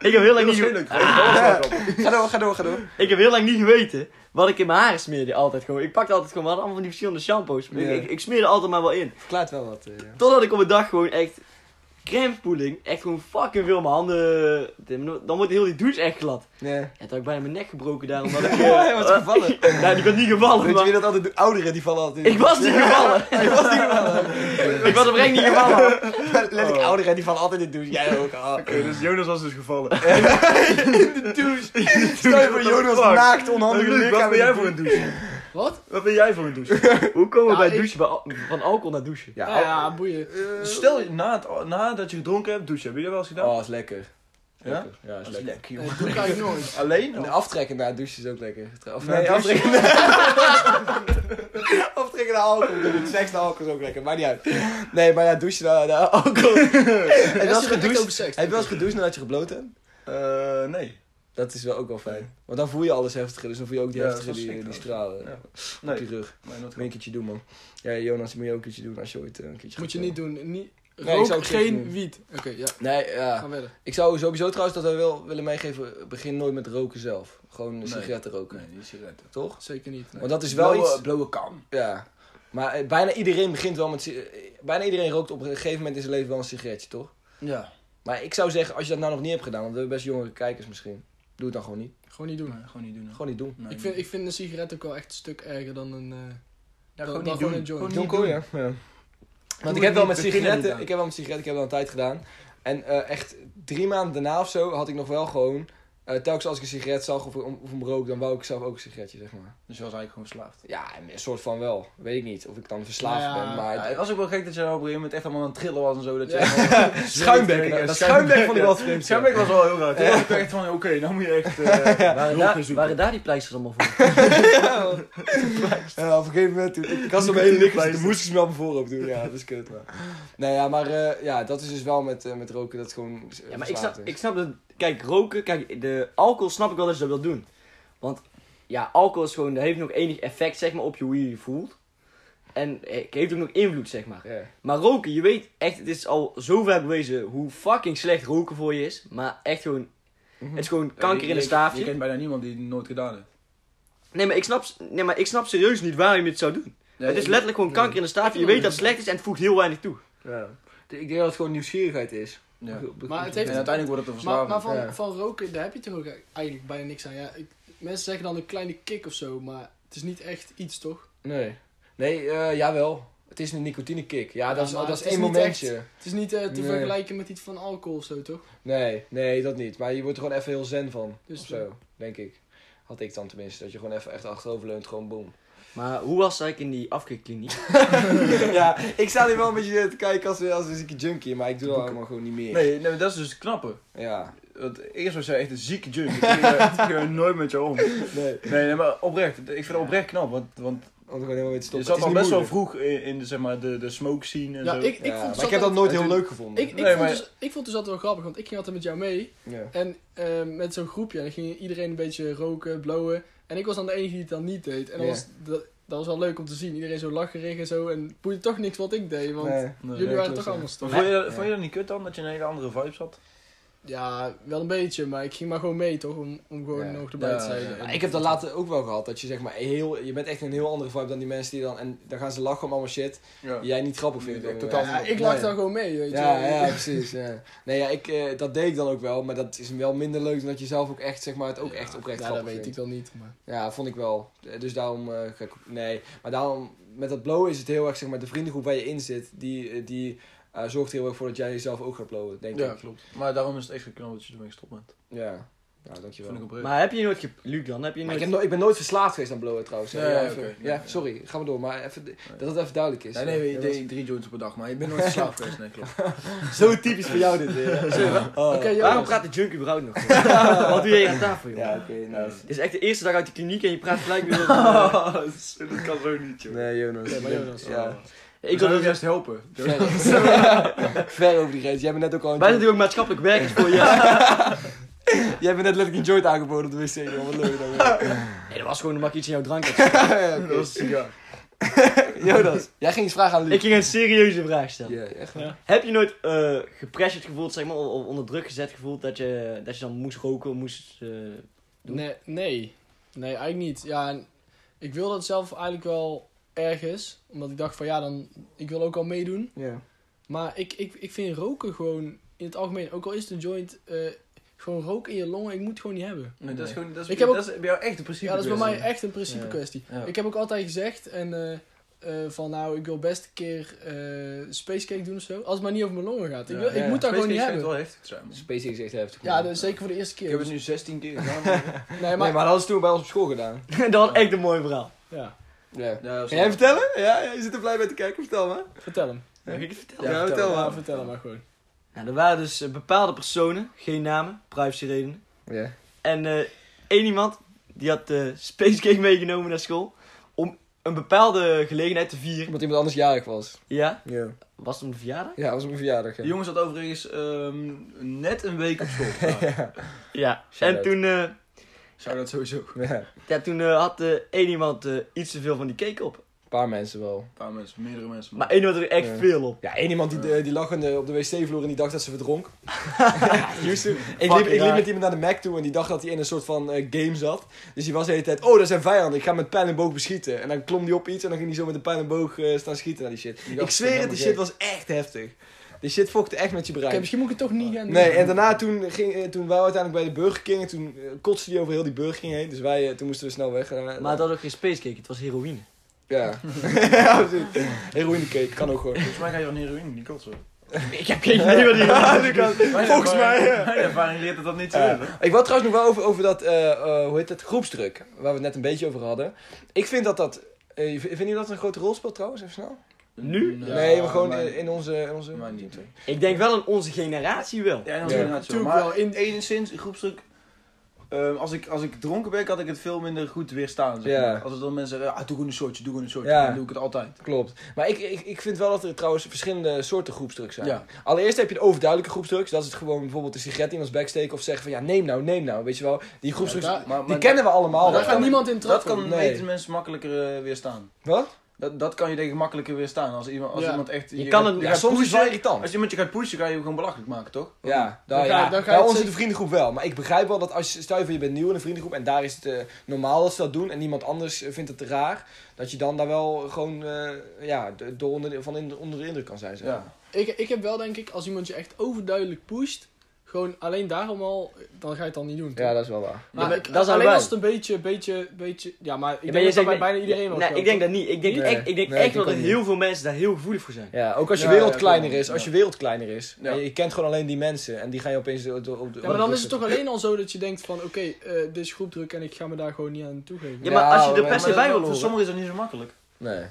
C: ik, heb heel lang
A: Dat
C: niet
A: was heel
C: geweten.
A: leuk. Nou, Dat was wel grappig.
B: Ga door, ga door, ga door.
C: Ik heb heel lang niet geweten wat ik in mijn haren smeerde altijd gewoon. Ik pakte altijd gewoon, we hadden allemaal van die verschillende shampoos. maar
B: Ja.
C: Ik, ik, ik smeerde altijd maar wel in.
B: Verklaart wel wat. eh, ja.
C: Totdat ik op een dag gewoon echt crèmepoeling, echt gewoon fucking veel mijn handen... Dan wordt heel die douche echt glad.
B: nee.
C: Ja, toen had ik bijna mijn nek gebroken daar, omdat ik...
B: Hij was gevallen.
C: nou, die was niet gevallen,
B: Weet je wie
C: maar...
B: dat altijd doet? Ouderen die vallen altijd in.
C: Ik was niet gevallen.
B: Ik was niet gevallen.
C: ik was oprecht niet gevallen.
B: Letterlijk
A: Oh.
B: ouderen die vallen altijd in de douche. Jij ook. ah.
A: Oké, dus Jonas was dus gevallen.
B: Stel je voor Jonas
A: Fuck.
B: naakt, onhandige
A: Luc, wat
B: lichaam.
A: ben jij
B: in de
A: voor een douche?
D: Wat?
A: Wat ben jij voor een douche?
C: Hoe komen we bij
D: Ja, ik-
C: douchen, bij al- van alcohol naar douchen?
B: douche.
D: Ja,
B: Ja,
D: ja, boeien.
A: Stel, je na het, nadat je gedronken hebt, douchen. Heb je dat wel eens gedaan?
B: oh, is lekker.
A: Ja?
B: Lekker. Ja, is
A: dat is
B: lekker.
A: Ah, lekker, joh.
D: Nee, dat doe ik eigenlijk nooit.
A: Alleen?
B: En aftrekken na het douchen is ook lekker. Of
A: Na het
B: nee,
A: douchen?
B: aftrekken aftrekken naar alcohol. bedoel ik. Seks naar alcohol is ook lekker, maakt niet uit. Nee, maar ja, douchen naar, naar alcohol. en
D: Rest
B: als
D: je dan echt over
B: gedoucht,
D: seks.
B: heb je wel eens gedoucht nadat je gebloot hebt?
A: Eh, nee.
B: Dat is wel ook wel fijn. Want dan voel je alles heftiger, dus dan voel je ook die
A: Ja, dat is
B: heftige die,
A: wel
B: die
A: sick
B: stralen.
A: Ja.
B: Op
A: Nee.
B: je rug.
A: Nee, nooit
B: Moet je een keertje doen, man. Ja, Jonas, moet je ook een keertje doen als je ooit eh, een keertje
D: Moet je
B: gaat
D: niet doen. Niet,
B: Nee, ik
D: rook
B: zou ook
D: geen
B: niet doen.
D: wiet. Oké, ja.
B: Nee, ja.
D: Gaan verder.
B: Ik zou sowieso trouwens dat wij wel willen meegeven, begin nooit met roken zelf. Gewoon
A: Nee.
B: sigaretten roken.
A: Nee, niet sigaretten.
B: Toch?
D: Zeker niet.
B: Want dat is wel
A: blauwe,
B: iets...
A: Blauwe kan.
B: Ja. Maar eh, bijna iedereen begint wel met... si- eh, Bijna iedereen rookt op een gegeven moment in zijn leven wel een sigaretje, toch?
A: Ja.
B: Maar ik zou zeggen, als je dat nou nog niet hebt gedaan, want we hebben best jongere kijkers misschien. Doe het dan gewoon niet.
D: Gewoon niet doen.
A: Nee, gewoon niet doen. hè.
B: Gewoon niet doen.
A: Nee,
D: Ik vind, ik vind een sigaret ook wel echt een stuk erger dan een... eh,
A: Ja,
D: dan-
A: gewoon niet
D: dan
A: doen.
D: gewoon een joint.
A: Gewoon
B: John
A: niet doen.
B: Coyer. Ja. Want ik
A: het
B: heb wel
A: niet, begin
B: met
A: er niet
B: sigaretten,
A: aan.
B: ik heb wel met sigaretten, ik heb wel een tijd gedaan. En eh, echt drie maanden daarna of zo had ik nog wel gewoon, eh, telkens als ik een sigaret zag of, of een rook, dan wou ik zelf ook een sigaretje, zeg maar.
A: Dus je was eigenlijk gewoon verslaafd.
B: Ja, een soort van wel. Weet ik niet of ik dan verslaafd
D: Ja,
B: ben, maar...
A: Ja, het was ook wel gek dat je nou op een gegeven moment echt allemaal aan het trillen was en zo. Dat je
D: Ja.
A: helemaal-
B: Schuimbek,
A: Ja,
B: ja, dat
A: schuimbek
B: schuimbek
A: vond ik
B: vond
A: wel
B: ik wel vreemd,
A: Schuimbek was wel heel raar. Toen dacht ik echt van, oké, nou moet je echt eh
C: Waren,
A: hulp
C: daar,
A: gaan zoeken.
C: waren daar die pleisters allemaal voor?
B: Ja, Eh, op een gegeven moment, toen- ik had zo'n hele lichtje, toen moest ik ze wel voorop doen. Ja, dat is kut, maar... Nee, ja, maar eh, ja, dat is dus wel met, eh, met roken, dat het gewoon eh,
C: Ja, maar ik
B: verslaafd
C: snap,
B: is.
C: ik snap dat. Kijk, roken, kijk, de alcohol snap ik wel dat je dat wil doen. Want ja, alcohol is gewoon, dat heeft nog enig effect zeg maar, op je, hoe je je voelt. En eh, heeft ook nog invloed, zeg maar.
B: Ja.
C: Maar roken, je weet echt, het is al zo ver bewezen hoe fucking slecht roken voor je is. Maar echt gewoon, het is gewoon kanker in een
A: Je
C: staafje.
A: kent bijna niemand die het nooit gedaan heeft.
C: Nee maar, ik snap, nee, maar ik snap serieus niet waarom je het zou doen. Eh, het is letterlijk gewoon kanker in een staafje. Je weet dat het slecht is en het voegt heel weinig toe.
B: Ja. Ik denk dat het gewoon nieuwsgierigheid is.
A: Ja.
D: Maar het
A: En
D: heeft...
A: uiteindelijk wordt het een
D: Maar,
A: verslaving.
D: maar van,
B: ja.
D: van roken, daar heb je toch ook eigenlijk bijna niks aan. Ja, ik- mensen zeggen dan een kleine kick of zo, maar het is niet echt iets, toch?
B: Nee. Nee, eh, jawel. Het is een nicotinekick. Ja, dat is,
D: Ja, maar
B: dat is
D: het is
B: één
D: niet
B: momentje.
D: Het is niet eh, te
B: Nee.
D: vergelijken met iets van alcohol of zo, toch?
B: Nee, nee, dat niet. Maar je wordt er gewoon even heel zen van.
D: Dus
B: of zo, denk ik. Had ik dan tenminste. Dat je gewoon even echt achteroverleunt, gewoon boom.
C: Maar hoe was het eigenlijk in die afkeerkliniek?
B: ja, ik sta hier wel een beetje eh, te kijken als, als een zieke junkie, maar ik doe dat allemaal gewoon niet meer.
A: Nee, nee, dat is dus het knappe.
B: Ja.
A: Want eerst was jij echt een zieke junk. Ik ging, eh, ik ging er nooit met jou om. Nee,
B: Nee.
A: nee, maar oprecht. Ik vind het oprecht knap. Want, want
B: Om er gewoon helemaal mee te
A: je
B: stoppen.
A: zat
B: Het
A: al
B: is
A: best
B: niet
A: wel
B: moeilijk.
A: vroeg in, in de, zeg maar, de, de smoke scene en
D: Ja,
A: zo.
D: ik, ik
B: Ja,
D: vond het
B: maar ik heb
D: zat
B: dat
D: altijd-
B: nooit heel
A: Natuurlijk-
B: leuk gevonden.
D: Ik, ik,
A: Nee,
D: vond
A: maar-
D: dus, ik vond het dus altijd wel grappig, want ik ging altijd met jou mee.
B: Ja.
D: En eh, met zo'n groepje, en dan ging iedereen een beetje roken, blowen. En ik was dan de enige die het dan niet deed. En dat,
B: Ja.
D: was, dat, dat was wel leuk om te zien. Iedereen zo lacherig en zo. En het boeide toch niks wat ik deed, want
B: Nee.
A: Nee,
D: jullie
A: nee,
D: waren
A: klopt,
D: toch
A: ja.
D: allemaal
A: Maar
D: stom.
A: vond, je, vond je dat niet kut dan? Dat je een hele andere vibe zat?
D: Ja, wel een beetje, maar ik ging maar gewoon mee, toch? Om, om gewoon
B: Ja.
D: nog erbij
A: Ja,
D: te zijn.
A: ja.
D: En-
B: Maar ik heb dat later ook wel gehad. Dat je zeg maar heel... Je bent echt in een heel andere vibe dan die mensen die dan... En dan gaan ze lachen om allemaal shit.
A: Ja.
B: Die jij niet grappig vindt.
A: Nee,
B: Eh,
A: totaal
D: Ja, ik lag
B: Nee.
D: dan gewoon mee, weet je.
B: Ja, ja, precies. Ja. Nee, ja, ik, eh, dat deed ik dan ook wel, maar dat is wel minder leuk dan dat je zelf ook echt, zeg maar, het ook echt oprecht
D: Ja, dat
B: grappig
D: weet ik
B: vindt.
D: dan niet. Maar...
B: Ja, vond ik wel. Eh, Dus daarom, eh, ga ik, nee. Maar daarom, met dat blowen is het heel erg, zeg maar, de vriendengroep waar je in zit, die, eh, die eh, zorgt er heel erg voor dat jij jezelf ook gaat blowen, denk ik.
A: klopt. Maar daarom is het extra knap dat je ermee gestopt bent.
B: Ja. Nou, dankjewel.
A: Vind ik
B: Maar
A: oprecht.
C: Maar heb je nooit, ge- Luc dan, heb je
B: Ik,
C: nooit...
B: heb no- ik ben nooit verslaafd geweest aan blowen trouwens. hè.
A: Nee,
B: ja,
A: ja,
B: even-
A: oké. Nee,
B: ja,
A: ja.
B: sorry, ga maar door. Maar even, dat het even duidelijk is.
A: Nee, nee,
B: Ja,
A: ik
B: dat
A: deed drie joints per dag, maar ik ben nooit slaap geweest. Nee, klopt.
B: was- Zo typisch voor jou dit. hè. Oh.
D: Oké,
C: Waarom
D: Jonas.
C: praat de junk überhaupt nog? Wat doe jij aan tafel, joh?
B: Ja, oké, nou, nice.
C: Dit is echt de eerste dag uit de kliniek en je praat gelijk weer over... eh,
A: Oh, dat kan zo niet, joh.
B: Nee, Jonas.
D: Nee, maar Jonas,
B: Ja.
C: ik wil dus...
A: juist helpen.
B: Ver, ver over die grens. Jij bent net ook al een
C: Wij zijn
B: joint-
C: natuurlijk ook maatschappelijk werkers voor je.
B: Jij bent net letterlijk een joint aangeboden op de wc. joh. Wat leuk dan weer.
C: Nee, dat was gewoon omdat ik iets in jouw drank had.
A: Dat was een sigaar.
B: Jonas, jij ging eens vragen aan Luc.
C: Ik ging een serieuze vraag stellen.
B: Ja, echt.
C: Heb je nooit eh gepressured gevoeld, zeg maar, of onder druk gezet gevoeld dat je, dat je dan moest roken, moest... eh, Doe.
D: Nee, nee. Nee, eigenlijk niet. Ja, en ik wilde het zelf eigenlijk wel ergens. Omdat ik dacht van ja, dan, ik wil ook al meedoen.
B: Ja.
D: Maar ik, ik, ik vind roken gewoon in het algemeen, ook al is het een joint, eh, gewoon rook in je longen, ik moet het gewoon niet hebben.
A: Nee, dat is gewoon... Dat is,
D: Ik heb ook-
A: dat is bij jou echt een principe
D: Ja, dat is bij mij
A: kwestie.
D: echt een principe kwestie.
A: Ja.
D: Ik heb ook altijd gezegd en, eh, eh, van nou, ik wil best een keer eh spacecake doen of zo. Als het maar niet over mijn longen gaat. Ik, wil-
A: Ja,
D: ik moet dat
A: Space
D: gewoon niet
A: Case
D: hebben.
A: schijnt wel heftig te zijn, man.
B: SpaceX echt heftig.
D: Ja,
B: man.
D: dat is zeker voor de eerste
A: Ik
D: keer.
A: heb
D: Dus-
A: het nu 16 keer gedaan.
D: Nee, maar...
B: Nee, maar dat hadden ze toen bij ons op school gedaan.
C: dat was echt een mooi verhaal.
D: Ja,
B: Ja.
A: Ja,
B: Ga jij vertellen? Ja, ja, je zit er blij bij te kijken. Vertel maar.
D: vertel hem.
C: Mag ik het vertellen?
B: Ja, vertel
D: Ja,
B: maar.
D: vertel hem maar gewoon.
C: Nou, er waren dus eh, bepaalde personen, geen namen, privacyredenen.
B: Ja.
C: En eh, één iemand die had eh Spacecake meegenomen naar school. Om een bepaalde gelegenheid te vieren.
B: Omdat iemand anders jarig was.
C: Ja,
B: Ja.
C: was het een verjaardag?
B: Ja, dat was op mijn verjaardag.
A: De
B: Ja.
A: jongens had overigens ehm, net een week op school. gedaan.
C: Ja. En
B: Shout-out.
C: toen, eh,
A: Zou dat sowieso. Een
B: Ja,
C: ja, toen eh, had eh, één iemand eh, iets te veel van die cake op.
B: Een paar mensen wel.
A: paar mensen, meerdere mensen.
C: Maar één had er echt
B: Ja.
C: veel op.
B: Ja, één iemand die, eh, die lag aan de- op de wc-vloer en die dacht dat ze verdronk. Houston. Ik liep,
C: Fucking
B: ik liep
C: raar.
B: met iemand naar de Mac toe en die dacht dat hij in een soort van eh, game zat. Dus die was de hele tijd, oh, dat zijn vijanden, ik ga met pijl en boog beschieten. En dan klom die op iets en dan ging hij zo met een pijl en boog eh, staan schieten naar die shit.
A: dacht,
B: ik zweer het,
A: helemaal
B: die shit was echt heftig. Die shit fokte echt met je
D: Oké,
B: brein.
D: misschien moet ik het toch niet gaan doen.
B: Nee, en daarna toen, ging, eh, toen waren we uiteindelijk bij de Burger King en toen eh, kotste die over heel die Burger King heen. Dus wij, eh, toen moesten we snel weg. En, eh,
C: Maar het had ook geen spacecake, het was heroïne.
B: Ja. ja, absoluut. Heroïnecake, kan ook gewoon.
A: Volgens mij ga je van heroïne niet kotsen.
C: Ik heb geen idee wat die dus-
B: Volgens mij, ja.
A: Mijn ervaring leert dat dat niet zo
D: Eh,
B: Ja.
A: is. hoor.
B: Eh, Ik wil trouwens nog wel over, over dat, eh, eh, hoe heet dat, groepsdruk. Waar we het net een beetje over hadden. Ik vind dat dat, eh, v- vinden jullie dat een grote rol speelt trouwens, even snel?
C: Nu?
A: Ja,
B: nee, maar gewoon
A: maar-
B: in, in onze... In onze
A: maar niet. hoor.
C: Ik denk wel aan onze generatie wel.
A: Ja,
B: Ja.
A: inderdaad zo.
D: Natuurlijk wel,
A: Maar
D: in-
A: in enigszins, groepsdruk... ehm, als, ik, als ik dronken ben, kan ik het veel minder goed weerstaan. Zeg
B: Ja.
A: maar. Als er dan mensen zeggen, ah, doe gewoon een soortje, doe gewoon een soortje.
B: Ja.
A: Dan doe ik het altijd.
B: Klopt. Maar ik, ik, ik vind wel dat er trouwens verschillende soorten groepsdruk zijn.
A: Ja.
B: Allereerst heb je de overduidelijke groepsdruk. Dus dat is het gewoon bijvoorbeeld een sigaret in ons bek steken of zeggen van ja, neem nou, neem nou. Weet je wel, die groepsdruk,
D: Ja, daar-
A: Maar,
B: die
A: maar-
B: kennen we allemaal.
D: Daar
A: dat
D: gaat
A: kan-
D: niemand in trap
A: Dat kan
B: Nee.
A: weten mensen makkelijker eh, weerstaan.
B: Wat?
A: Dat, dat kan je denk ik makkelijker weerstaan. Als iemand, als
D: Ja.
A: iemand echt...
C: Je kan
A: gaat-
C: het-
A: je
B: Ja,
A: gaat
B: soms is het wel
A: pushen.
B: irritant.
A: Als je iemand je gaat pushen, ga je hem gewoon belachelijk maken, toch?
B: Ja, daar,
D: Dan ga-
B: ja.
D: dan ga je
B: bij
D: het
B: ons in de
D: zeker-
B: vriendengroep wel. Maar ik begrijp wel dat als je, stel je voor je bent nieuw in een vriendengroep en daar is het eh, normaal dat ze dat doen en niemand anders eh, vindt het raar, dat je dan daar wel gewoon eh, ja, de- door onder, van in, onder de indruk kan zijn. Zeg. maar.
A: Ja.
D: Ik, ik heb wel denk ik, als iemand je echt overduidelijk pusht, gewoon alleen daarom al, dan ga je het dan niet doen. toch?
B: ja, dat is wel waar.
D: maar
C: Ja,
D: ik-
C: dat zijn
D: alleen
C: wij.
D: als het een beetje, beetje, beetje, ja, maar ik
C: Ja, maar je
D: denk dat dat
C: zegt
D: bij
C: niet-
D: bijna iedereen wel
C: Nee,
D: geldt,
C: ik denk
D: toch?
C: dat niet. Ik denk,
B: Nee.
C: echt, ik denk
B: Nee,
C: echt
B: ik
C: wel dat
B: ook niet.
C: heel veel mensen daar heel gevoelig voor zijn.
B: Ja, ook als je
A: Ja,
B: wereld
A: ja,
B: kleiner
A: klopt.
B: is, als je
A: Ja.
B: wereld kleiner is,
A: Ja.
B: en je kent gewoon alleen die mensen en die ga je opeens op de, op de
D: Ja, maar dan is het toch alleen al zo dat je denkt van, oké, eh, dit is groepdruk en ik ga me daar gewoon niet aan toegeven.
C: Ja, maar als je er
B: maar
C: per se
A: dat-
C: bij wil
A: voor
C: horen.
A: sommigen is dat niet zo makkelijk.
B: Nee.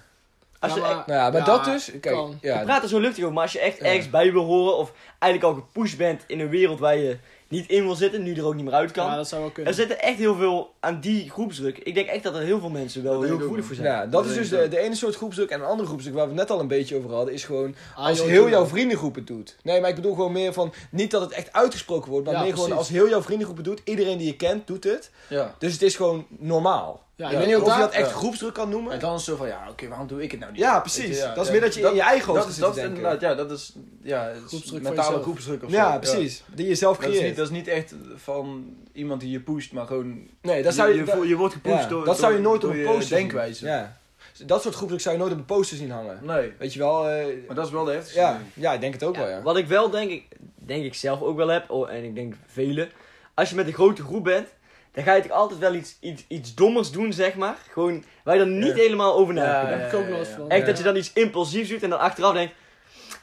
C: Als je
D: Ja, maar-
C: echt-
B: Nou ja, maar
D: Ja,
B: dat dus, kijk,
D: kan.
B: ja,
C: je praat er zo luchtig over, maar als je echt
B: Ja.
C: ergens bij wil horen of eigenlijk al gepusht bent in een wereld waar je niet in wil zitten, nu er ook niet meer uit kan.
D: Ja, dat zou wel
C: er
D: kunnen.
C: zitten echt heel veel aan die groepsdruk. Ik denk echt dat er heel veel mensen wel
A: Dat denk ik
C: heel
A: ook
C: gevoelig voor zijn.
B: Ja, dat,
A: Dat
B: is
A: denk
B: dus
A: ik
B: de,
A: ook.
B: de ene soort groepsdruk. En een andere groepsdruk waar we het net al een beetje over hadden, is gewoon
D: Ah,
B: als
D: joh,
B: heel
D: doe
B: jouw
D: maar.
B: vriendengroep het doet. Nee, maar ik bedoel gewoon meer van niet dat het echt uitgesproken wordt, maar
D: Ja,
B: meer gewoon
D: precies.
B: als heel jouw vriendengroep het doet. Iedereen die je kent doet het.
A: Ja.
B: Dus het is gewoon normaal.
D: Ja,
B: ik
D: ik
B: weet
D: denk
B: niet of
D: dat
B: je dat
D: daar-
B: echt
A: ja.
B: groepsdruk kan noemen.
A: En dan is het zo van, ja, oké, waarom doe ik het nou niet?
B: Ja, precies.
A: Ja,
B: dat is
A: ja.
B: meer dat je in je eigen hoofd
A: dat,
B: zit
A: is,
B: te
A: dat is
B: denken.
A: inderdaad, ja, dat is ja, het is
D: Groepsdruk van
A: mentale
D: jezelf.
A: groepsdruk of zo.
B: ja, precies. Die je zelf
A: Ja. Dat, is niet,
B: creëert.
A: dat is niet echt van iemand die je pusht, maar gewoon...
B: Nee, dat zou je...
A: je,
B: dat-
A: voelt- je wordt gepusht
B: ja,
A: door
B: dat zou je
A: door-
B: nooit op
A: door
B: een
A: je
B: poster zien.
A: denkwijze.
B: ja. Dat soort groepsdruk zou je nooit op een poster zien hangen.
A: Nee,
B: Weet je wel? eh,
A: maar dat is wel de heftigste.
B: ja,
A: ding.
B: ja, ik denk het ook
C: Ja,
B: wel, ja.
C: Wat ik wel denk ik, denk ik zelf ook wel heb, oh, en ik denk velen. Als je met een grote groep bent, dan ga je toch altijd wel iets, iets, iets dommers doen, zeg maar. Gewoon, waar je dan niet
B: Ja.
C: helemaal over na hebt
A: Ja,
C: gedacht.
D: Daar heb ik ook nog eens van.
C: Echt dat je dan iets impulsiefs doet en dan achteraf denkt,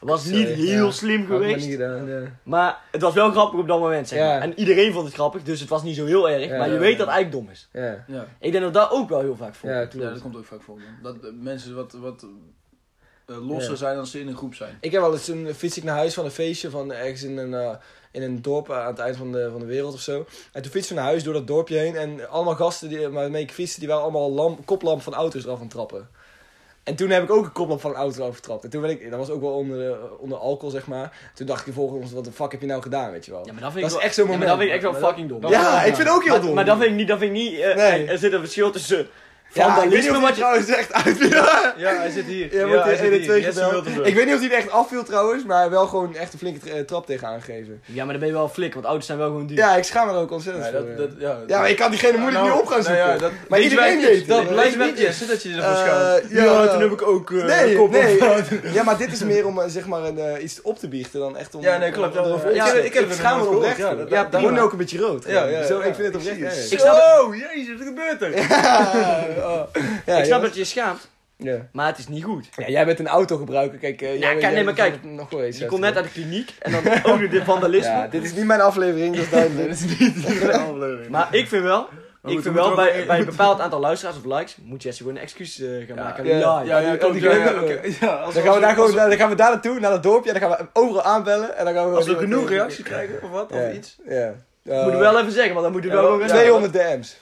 C: was niet
B: Sorry,
C: heel
B: ja.
C: slim
B: Had ik maar
C: geweest.
B: niet gedaan, ja.
C: Maar het was wel grappig op dat moment, zeg
B: Ja.
C: maar. En iedereen vond het grappig, dus het was niet zo heel erg.
B: Ja,
C: maar je
A: ja,
C: weet
A: ja.
C: dat het eigenlijk dom is.
B: Ja,
A: Ja.
C: Ik denk dat dat ook wel heel vaak voorkomt.
B: ja
A: Ja, dat
B: klopt.
A: komt ook vaak voor. man. Dat eh, mensen wat, wat eh, losser
B: Ja.
A: zijn dan ze in een groep zijn.
B: Ik heb wel eens een fiets ik naar huis van een feestje van ergens in een, eh, in een dorp aan het eind van de, van de wereld of zo. En toen fietsen we naar huis door dat dorpje heen. En allemaal gasten die, waarmee ik fietste, die waren allemaal lamp, koplamp van auto's eraf aan het trappen. En toen heb ik ook een koplamp van een auto eraf getrapt. En toen ben ik, dat was ook wel onder, eh, onder alcohol zeg maar. Toen dacht ik vervolgens, wat de fuck heb je nou gedaan, weet je wel.
C: Ja, maar dat
B: dat
C: vind ik
B: is
C: wel,
B: echt zo'n
C: ja, maar
B: moment.
C: dat vind ik echt wel fucking dom.
B: Ja,
A: dat- dat-
B: ik vind het ook heel
C: maar,
B: dom.
C: maar dat vind ik niet, dat vind ik niet, eh,
B: Nee.
C: er zit een verschil tussen
B: ja, ik weet
C: vandalisme
B: niet of
C: wat
B: hij
C: je...
B: trouwens echt uit
A: Ja, hij zit hier.
B: Ja, wordt in 1 en 2
A: Jesse
B: gebeld.
A: Wiltenburg.
B: Ik weet niet of hij er echt afviel trouwens, maar wel gewoon echt een flinke tra- trap tegen aangegeven.
C: Ja, maar dan ben je wel flik, want auto's zijn wel gewoon duur.
B: Ja, ik schaam me er ook ontzettend
A: Ja,
B: voor.
A: dat,
B: ja. eh,
A: dat, ja,
B: ja, maar ik kan diegene moeilijk
A: Nou,
B: niet op gaan
A: nou
B: zoeken.
A: ja, dat- weet
B: Maar
A: je
B: iedereen
A: waar ik-
B: deed dat.
A: weet
B: Blijkt
A: je waar
B: niet.
A: ik Jesse, dat je ervoor
B: Eh,
A: schaamt.
B: ja.
A: ook eh,
B: nee,
A: kop op.
B: nee. ja, maar dit is meer om eh, zeg maar een, eh, iets op te biechten dan echt om...
A: Ja, nee, klopt.
B: om- om-
A: Ja,
B: om-
A: ja, ja,
B: ik,
A: ik heb
B: ik
A: het
B: schaam me
A: nog
B: er
A: nooit
B: oprecht
A: gehoord.
B: voor.
A: Ja,
B: Ja,
A: dat- dat-
B: daar word je
A: prima.
B: ook een beetje rood.
A: Ja,
B: gewoon.
A: ja,
C: Dus
B: Zo,
A: ja,
B: ik vind het
A: ik
B: oprecht.
A: zie het.
B: erg.
C: Ik snap,
A: Zo, jezus, wat gebeurt er?
B: Ja, oh. Ja,
C: ik snap
B: ja.
C: dat je je schaamt,
B: Ja.
C: maar het is niet goed.
B: Ja, jij bent een autogebruiker. Kijk, eh, jij,
C: kijk,
B: jij
C: nee, maar
B: bent
C: kijk.
B: Nog wel eens
C: Je komt net uit de kliniek en dan ook nog dit vandalisme.
B: Ja, dit is niet mijn aflevering, dat is duidelijk.
C: Maar ik vind wel, ik
A: goed,
C: vind
A: we
C: wel
A: moeten
C: bij,
A: ook-
C: bij een bepaald aantal luisteraars of likes, moet Jesse gewoon een excuus eh, gaan maken.
B: ja.
C: Ja, ja,
A: Ja, ja,
B: die-
A: klopt,
B: die
A: ja, ja,
B: kinderen.
A: oké. Ja, als-
B: Dan gaan we
A: als-
B: daar gewoon,
A: als-
B: dan gaan we daar naartoe, naar dat dorpje, en dan gaan we overal aanbellen. En dan gaan we
A: Als we
B: gewoon
A: genoeg reactie krijgen, of wat, of iets.
B: Ja. Eh,
C: Moet ik wel even zeggen, want dan moet je
A: Ja,
C: wel gewoon
A: ja.
C: respect-
B: 200 DM's.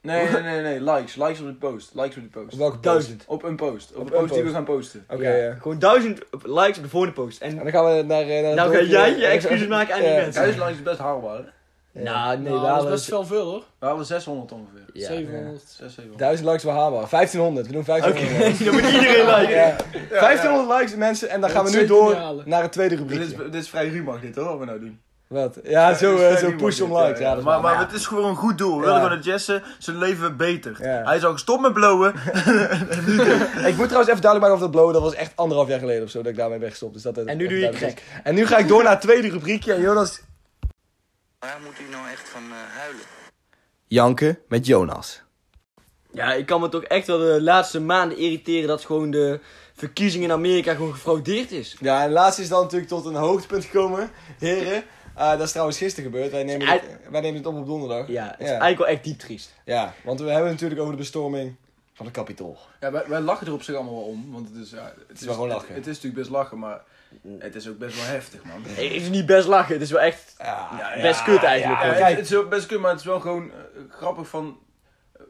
A: Nee, nee, nee, nee, likes. Likes op de post. Likes op de post.
B: Op welke post?
C: duizend.
A: Op een post. Op
B: Op
A: een
B: een
A: post die we
B: post.
A: gaan posten.
B: Oké,
C: Ja.
B: ja.
C: Gewoon duizend likes op de volgende post. En
B: En dan gaan we naar, eh, naar
C: nou ga
B: dorpje.
C: jij je excuses maken aan die
B: Ja.
C: mensen.
A: Thuislikes is best haalbaar. hè?
B: Ja.
C: Nou, nee,
D: Nou,
C: daar
D: dat is best wel veel hoor.
A: We hadden 600 ongeveer.
C: Ja.
D: 700.
A: 6, 700.
B: 1000 likes we halen. 1500, we doen 1500.
C: Oké, dan moet iedereen liken.
B: Ja. 1500 likes mensen en dan
D: Ja,
B: gaan we
D: dat
B: nu
D: zeker
B: door
D: niet halen.
B: naar het tweede
A: Dus Dit is,
B: rubriekje.
A: dit is vrij ruw, mag dit hoor, wat we nou doen.
B: Wat? Ja, zo,
A: die
B: eh, zo
A: Freddy
B: push
A: wordt
B: om likes.
A: dit, eh,
B: Ja, dat is
F: Maar,
B: waar.
F: maar het is gewoon een goed doel. We
B: Ja.
F: willen gewoon dat Jesse zijn leven verbetert.
B: Ja.
F: Hij is al gestopt met blowen.
B: Ik moet trouwens even duidelijk maken of dat blowen, dat was echt anderhalf jaar geleden of zo dat ik daarmee ben gestopt. Dus dat
C: En nu doe je
B: gek. En nu ga ik door naar het tweede rubriekje. En Jonas...
G: Waar moet u nou echt van eh, huilen?
B: Janken met Jonas.
C: Ja, ik kan me toch echt wel de laatste maanden irriteren dat gewoon de verkiezingen in Amerika gewoon gefraudeerd is.
B: Ja, en laatst is dan natuurlijk tot een hoogtepunt gekomen. Heren, eh, dat is trouwens gisteren gebeurd. Wij nemen, het, wij nemen het op op donderdag.
C: Ja, het is
B: ja.
C: eigenlijk wel echt diep triest.
B: Ja, want we hebben het natuurlijk over de bestorming van het kapitool.
A: Ja, wij, wij lachen er op zich allemaal wel om, want het is... Ja, het,
B: wel gewoon lachen.
A: Het, het is natuurlijk best lachen, maar het is ook best wel heftig, man.
C: Het is niet best lachen, het is wel echt
B: Ja,
C: best kut eigenlijk.
A: Ja,
C: hoor.
A: het,
B: kijk.
A: het is wel best kut, maar het is wel gewoon eh, grappig van...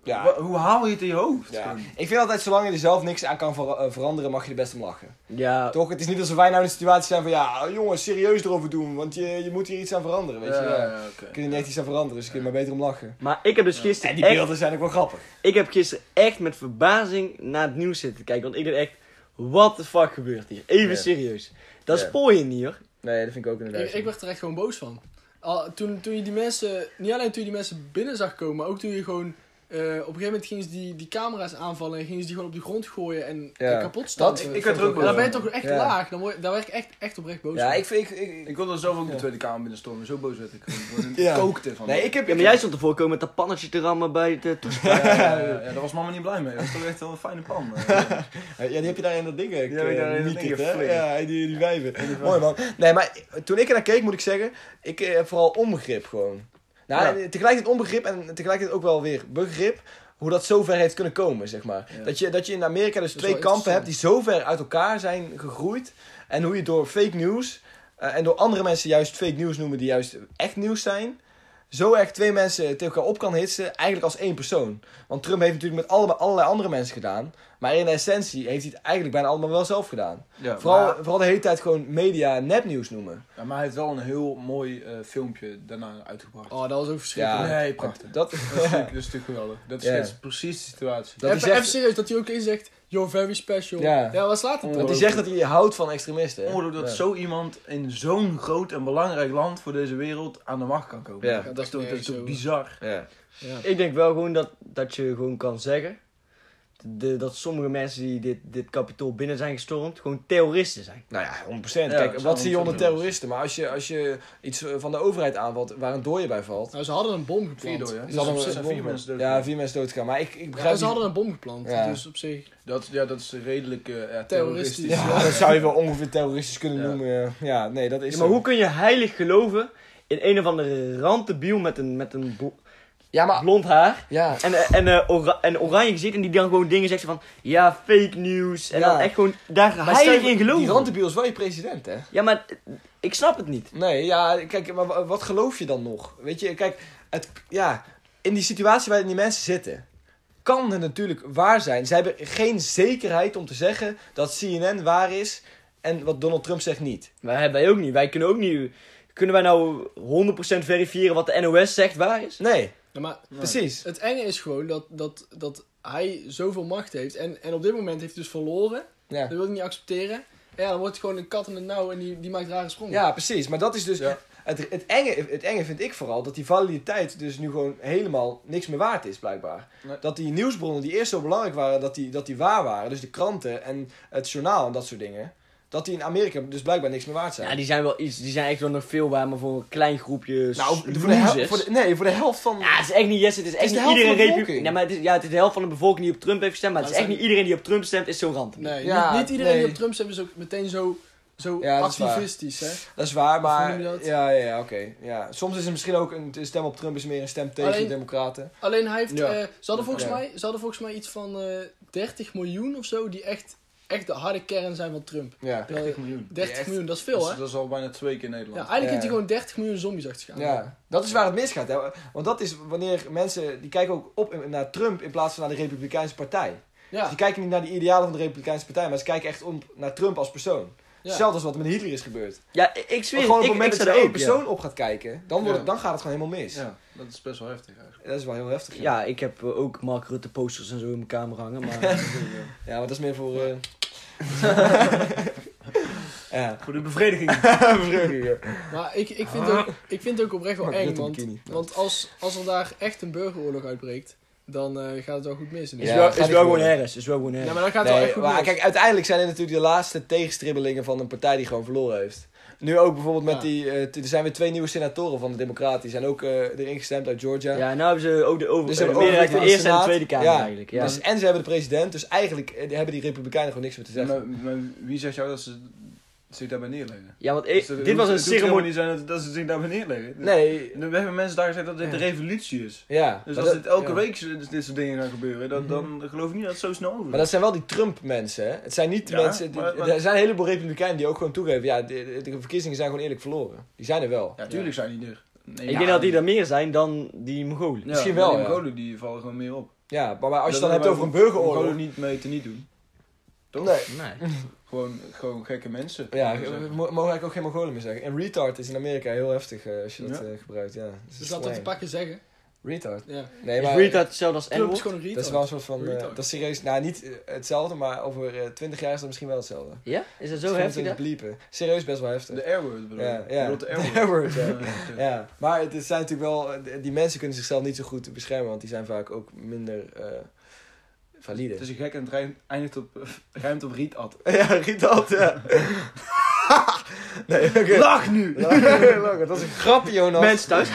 B: Ja.
A: wa- hoe haal je het in je hoofd?
B: Ja.
A: Gewoon.
B: Ik vind altijd, zolang je er zelf niks aan kan ver- eh, veranderen, mag je er best om lachen.
C: Ja,
B: Toch? Het is niet alsof wij nou in de situatie zijn van, ja, jongens, serieus erover doen, want je, je moet hier iets aan veranderen, weet je.
A: Ja,
B: Ja.
A: ja, oké.
B: Je kunt er niet echt iets aan veranderen, dus je kunt maar beter om lachen.
C: maar ik heb dus
B: En
C: gisteren
B: die
C: echt,
B: beelden zijn ook wel grappig.
C: ik heb gisteren echt met verbazing naar het nieuws zitten kijken. Want ik dacht echt, what the fuck gebeurt hier? Even
B: Ja.
C: serieus. Dat
B: Ja.
C: spoor je niet hoor.
B: Nee, dat vind ik ook
D: Ik, ik werd er echt gewoon boos van. Al, toen, toen je die mensen, niet alleen toen je die mensen binnen zag komen, maar ook toen je gewoon. eh, op een gegeven moment gingen ze die, die camera's aanvallen en gingen ze die gewoon op de grond gooien en,
B: Ja.
D: en kapot stampen.
A: ik werd er ook boos
D: Dan ben je
A: van.
D: toch echt
B: Ja.
D: laag. Dan word, daar werd ik echt, echt oprecht boos
B: Ja,
D: van.
B: ik vind... Ik, ik,
A: Ik wilde zelf ook de Tweede Kamer binnenstormen, zo boos werd ik. Gewoon
B: Ja.
A: kookte van.
B: nee, ik heb...
C: Ja, maar jij stond ervoor komen met dat pannetje te rammen bij het eh, toespraak.
A: Ja, ja, ja, ja, daar was mama niet blij mee. Dat is toch echt wel een fijne pan. eh.
B: Ja, die heb je daar in dat ding. eh,
A: heb ik daar in dat ding geflikt.
B: Ja, die, die wijven. Mooi man. Nee, maar toen ik er naar keek, moet ik zeggen, ik eh, heb vooral onbegrip gewoon. Nou,
A: Ja.
B: en tegelijkertijd onbegrip en tegelijkertijd ook wel weer begrip. Hoe dat zo ver heeft kunnen komen, zeg maar.
A: Ja.
B: Dat, je, dat je in Amerika dus
D: is
B: twee
D: wel
B: kampen hebt die zo ver uit elkaar zijn gegroeid. En hoe je door fake news eh, en door andere mensen juist fake news noemen die juist echt nieuws zijn. Zo erg twee mensen tegen elkaar op kan hitsen, eigenlijk als één persoon. Want Trump heeft natuurlijk met alle, allerlei andere mensen gedaan. Maar in essentie heeft hij het eigenlijk bijna allemaal wel zelf gedaan.
A: Ja,
B: Vooral,
A: maar-
B: vooral de hele tijd gewoon media nepnieuws noemen.
A: Ja, maar hij heeft wel een heel mooi eh, filmpje daarna uitgebracht.
D: Oh, dat was ook verschrikkelijk.
B: Ja.
A: nee, prachtig.
B: Dat,
A: Dat is natuurlijk- dat is natuurlijk geweldig. Dat
B: Ja.
A: schetst precies de situatie.
B: dat, hij
D: even, even
B: zegt,
D: serieus, dat hij ook eens zegt, you're very special.
B: Ja.
D: Ja, wat slaat het
B: dat
D: erop?
B: hij zegt dat hij houdt van extremisten. hè?
A: Ongelooflijk dat
B: Ja.
A: zo iemand in zo'n groot en belangrijk land voor deze wereld aan de macht kan komen.
B: Ja.
A: Dat is toch, dat is toch
D: Nee, zo.
A: bizar.
B: Ja.
C: Ik denk wel gewoon dat, dat je gewoon kan zeggen de, dat sommige mensen die dit, dit kapitool binnen zijn gestormd gewoon terroristen zijn.
B: Nou ja, 100%.
A: dat
B: Kijk,
A: is
B: wat zie je onder
A: 100%.
B: terroristen? Maar als je, als je iets eh, van de overheid aanvalt waar een dooie bij valt.
D: Nou, ze hadden een bom
A: Vier
D: geplant.
A: door, ja.
B: is dat
A: Dus
B: een-
A: er zijn vier mensen dood.
B: Ja, vier mensen doodgaan. Maar ik, ik
D: Ja,
B: begrijp
D: ze hadden een bom geplant,
B: Ja.
D: dus op zich.
A: Dat, ja, dat is redelijk eh, ja,
D: Terroristisch.
A: terroristisch.
B: niet- Ja, dat zou je wel ongeveer terroristisch kunnen
A: Ja.
B: noemen. ja. Ja, nee, dat is
C: Ja, maar
B: zo.
C: hoe kun je heilig geloven in een of andere rantebiel met een, met een bl-
B: Ja, maar...
C: blond haar
B: Ja,
C: en, eh, en, eh, ora- en oranje gezicht en die dan gewoon dingen zegt van ja, fake news en
B: Ja.
C: dan echt gewoon daar
B: Maar
C: heilig
B: stel je-
C: in geloven.
B: Die randebiel is wel je president, hè?
C: Ja, maar eh, ik snap het niet.
B: Nee, ja, kijk, maar wa- wat geloof je dan nog? Weet je, kijk, het, ja, in die situatie waarin die mensen zitten, kan het natuurlijk waar zijn. Ze hebben geen zekerheid om te zeggen dat CNN waar is en wat Donald Trump zegt niet.
C: Maar hebben wij ook niet. Wij kunnen ook niet. Kunnen wij nou 100% verifiëren wat de NOS zegt waar is?
B: Nee,
D: Ja, maar
B: precies.
D: Het enge is gewoon dat, dat, dat hij zoveel macht heeft. En, en op dit moment heeft hij dus verloren.
B: Ja.
D: Dat wil ik niet accepteren. En ja, dan wordt het gewoon een kat in het nauw en die, die maakt rare sprongen.
B: ja, precies. Maar dat is dus...
A: Ja.
B: Het, het, enge, het enge vind ik vooral dat die validiteit dus nu gewoon helemaal niks meer waard is, blijkbaar.
A: Nee.
B: Dat die nieuwsbronnen die eerst zo belangrijk waren, dat die, dat die waar waren. Dus de kranten en het journaal en dat soort dingen. Dat die in Amerika dus blijkbaar niks meer waard zijn.
C: Ja, die zijn wel iets. Die zijn echt wel nog veel waar, maar voor een klein groepje.
B: Nou,
C: s-
B: voor de hel-
C: losers.
B: voor de- nee, voor de helft van...
C: Ja, het is echt niet yes, het is echt
B: is de
C: niet
B: helft van de
C: iedereen
B: bevolking.
C: Nee, maar het is, ja, het is de helft van de bevolking die op Trump heeft gestemd, maar het is
D: Maar
C: echt
D: het
C: niet iedereen die op Trump stemt is zo'n rand.
D: Nee,
B: Ja,
D: niet, niet iedereen
B: nee.
D: die op Trump stemt is ook meteen zo, zo
B: Ja, dat is waar.
D: activistisch, hè.
B: Dat is waar,
D: Hoe
B: maar...
D: noem je dat?
B: Ja, ja, ja, oké. Ja. Soms is het misschien ook een een stem op Trump is meer een stem tegen
D: Alleen-
B: de democraten.
D: Alleen hij heeft...
A: Ja.
D: eh, ze, hadden volgens
B: Ja.
D: mij, ze hadden volgens mij iets van eh 30 miljoen of zo... die echt, echt de harde kern zijn van Trump.
B: Ja.
A: 30 miljoen.
D: 30
B: echt-
D: miljoen, dat is
A: Dat
D: veel,
A: is,
D: hè?
A: dat is al bijna twee keer
D: Ja,
A: Nederland.
D: eigenlijk
B: Ja.
D: heeft hij gewoon 30 miljoen zombies achtergaan.
B: Ja, dat is waar het misgaat. Hè. Want dat is wanneer mensen... Die kijken ook op in- naar Trump in plaats van naar de Republikeinse Partij.
D: Ja,
B: Dus Die kijken niet naar de idealen van de Republikeinse Partij, maar ze kijken echt om naar Trump als persoon.
D: ja.
B: Hetzelfde als wat met Hitler is gebeurd.
C: Ja, ik- ik zweer,
B: Want gewoon op
C: ik,
B: het moment
C: ik
B: dat je
C: zou daar
B: één
C: ook,
B: persoon op gaat kijken, dan, wordt het-
A: Ja.
B: dan gaat het gewoon helemaal mis.
A: Ja, dat is best wel heftig eigenlijk.
B: Dat is wel heel heftig.
C: Ja. ja, ik heb eh, ook Mark Rutte posters en zo in mijn kamer hangen, maar...
B: Ja, maar dat is meer voor... eh, Ja.
F: Voor de bevrediging.
B: Vreugde, ja.
D: Maar ik, ik, vind ook, ik vind het ook oprecht wel
B: Maar
D: eng,
B: dit een
D: want,
B: bikini.
D: want als, als er daar echt een burgeroorlog uitbreekt, dan eh, gaat het wel goed mis. in
B: Ja,
C: Is
D: Israël.
C: wel,
B: gaat
C: is
B: niet
C: wel gewoon
B: gebeuren.
C: Harris. Is wel gewoon
D: Ja,
C: Harris.
D: maar dan gaat het wel
B: Nee,
D: echt goed
B: maar
D: mis.
B: kijk, uiteindelijk zijn het natuurlijk de laatste tegenstribbelingen van een partij die gewoon verloren heeft. Nu ook bijvoorbeeld met
D: Ja.
B: die... eh, t- er zijn weer twee nieuwe senatoren van de Democraten. Die zijn ook eh, erin gestemd uit Georgia.
C: Ja, nou hebben ze ook de over.
B: Dus
C: Dus
B: ze
C: de
B: hebben
C: meerderheid van
B: overwicht in de
C: de Eerste en de
B: Senaat.
C: Tweede Kamer
B: Ja.
C: eigenlijk. Ja.
B: Dus, en ze hebben de president. Dus eigenlijk eh, hebben die republikeinen gewoon niks meer te zeggen.
A: Maar, maar wie zegt jou dat ze zich daarbij neerleggen?
C: ja, want
A: Dus
C: ik-
A: dat
C: dit
A: hoeft-
C: was een
A: het hoeft helemaal
C: ceremonie.
A: niet zijn dat, dat ze zich daarbij neerleggen.
B: nee,
A: En dan hebben mensen daar gezegd dat dit de revolutie is.
B: ja.
A: Dus
B: maar,
A: als
B: dat,
A: dit elke
B: ja. Mhm.
A: week zo- dit soort dingen gaan gebeuren, dan, dan geloof ik niet dat het zo snel over is.
B: maar dat zijn wel die Trump-mensen, hè? Het zijn niet
A: Ja,
B: mensen... Die,
A: maar- maar-
B: er zijn een heleboel republikeinen die ook gewoon toegeven... Ja, de, de verkiezingen zijn gewoon eerlijk verloren. Die zijn er wel.
A: Ja, tuurlijk zijn die er. Nee,
C: Ik
A: ja,
C: denk dat die er meer zijn dan die Mongolen.
A: ja,
B: misschien
A: maar
B: wel,
A: Die
B: ja.
A: Mongolen die vallen gewoon meer op.
B: Ja, maar, maar als
A: Dat
B: je dan hebt
A: wij
B: over een
A: Mongolen
B: burgeroorlog...
A: niet mee te niet doen. Toch?
B: Nee.
C: Nee.
A: Gewoon, gewoon gekke mensen.
B: Ja,
A: Zo.
B: mo- mogen ik ook geen Mongolen meer zeggen. En retard is in Amerika heel heftig eh, als je dat
A: Ja.
B: eh, gebruikt, ja. Dat is
D: Dus laat dat te
B: slang.
D: pakken zeggen.
B: Retard.
D: Ja.
B: Nee,
C: Is
B: maar
C: Reed dat hetzelfde als
D: Trump is
C: N-woord?
D: gewoon een retard.
B: dat is wel een soort van... eh,
D: Retard.
B: dat is serieus, nou niet eh, hetzelfde, maar over eh, twintig jaar is dat misschien wel hetzelfde.
C: Ja? Is dat zo
B: Misschien
C: heftig?
B: moeten
C: dat?
B: we het bliepen. Serieus best wel heftig.
A: De airword bedoel je?
B: Ja, ja.
A: Je bedoelt de airword.
B: De airword, ja.
A: Ja, ja.
B: Ja, maar het zijn natuurlijk wel... eh, Die mensen kunnen zichzelf niet zo goed beschermen, want die zijn vaak ook minder eh, valide.
D: Dus-
A: Het is een gek en het rijmt- eindigt op, ruimt op rietat.
B: Ja, retard, ja. nee, oké.
F: Lach nu!
B: Lachen, lachen. Dat is een grapje, Jonas.
C: Mensen thuis.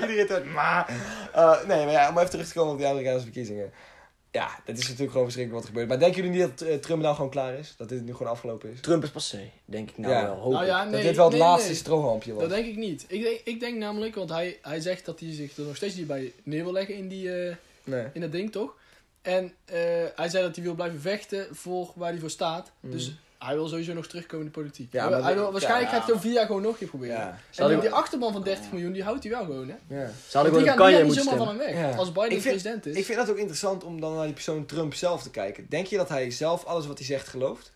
B: Iedereen thuis. Maar, eh, nee, maar ja, om even terug te komen op die Amerikaanse verkiezingen. Ja, dat is natuurlijk gewoon verschrikkelijk wat er gebeurt. Maar denken jullie niet dat eh, Trump nou gewoon klaar is? Dat dit nu gewoon afgelopen is?
C: Trump is passé, denk ik nou
B: Ja.
C: wel. Hoop
D: Nou ja,
C: ik.
D: nee,
B: dat dit wel het
D: nee,
B: laatste
D: nee.
B: strohampje was.
D: Dat denk ik niet. Ik denk, ik denk namelijk, want hij, hij zegt dat hij zich er nog steeds niet bij neer wil leggen in, die, eh,
B: Nee.
D: in dat ding, toch? En eh, hij zei dat hij wil blijven vechten voor waar hij voor staat. Dus hij wil sowieso nog terugkomen in de politiek.
B: Mhm. Ja,
D: Hij-
B: maar
D: hij
B: de-
D: wil, waarschijnlijk
B: ja.
D: gaat hij het over vier jaar gewoon nog een keer proberen.
B: Ja.
D: En
C: Zou
D: die,
C: ik-
D: die achterban van 30 miljoen, die houdt hij wel gewoon, hè?
B: ja.
C: Ze hadden
D: Want
C: gewoon een
D: die gaan, die
C: kanje
D: gaan niet
C: moeten
D: zomaar van
C: stemmen.
D: hem weg.
B: Ja.
D: Als Biden
B: Ik vind-
D: president is.
B: Ik vind dat ook interessant om dan naar die persoon Trump zelf te kijken. Denk je dat hij zelf alles wat hij zegt gelooft?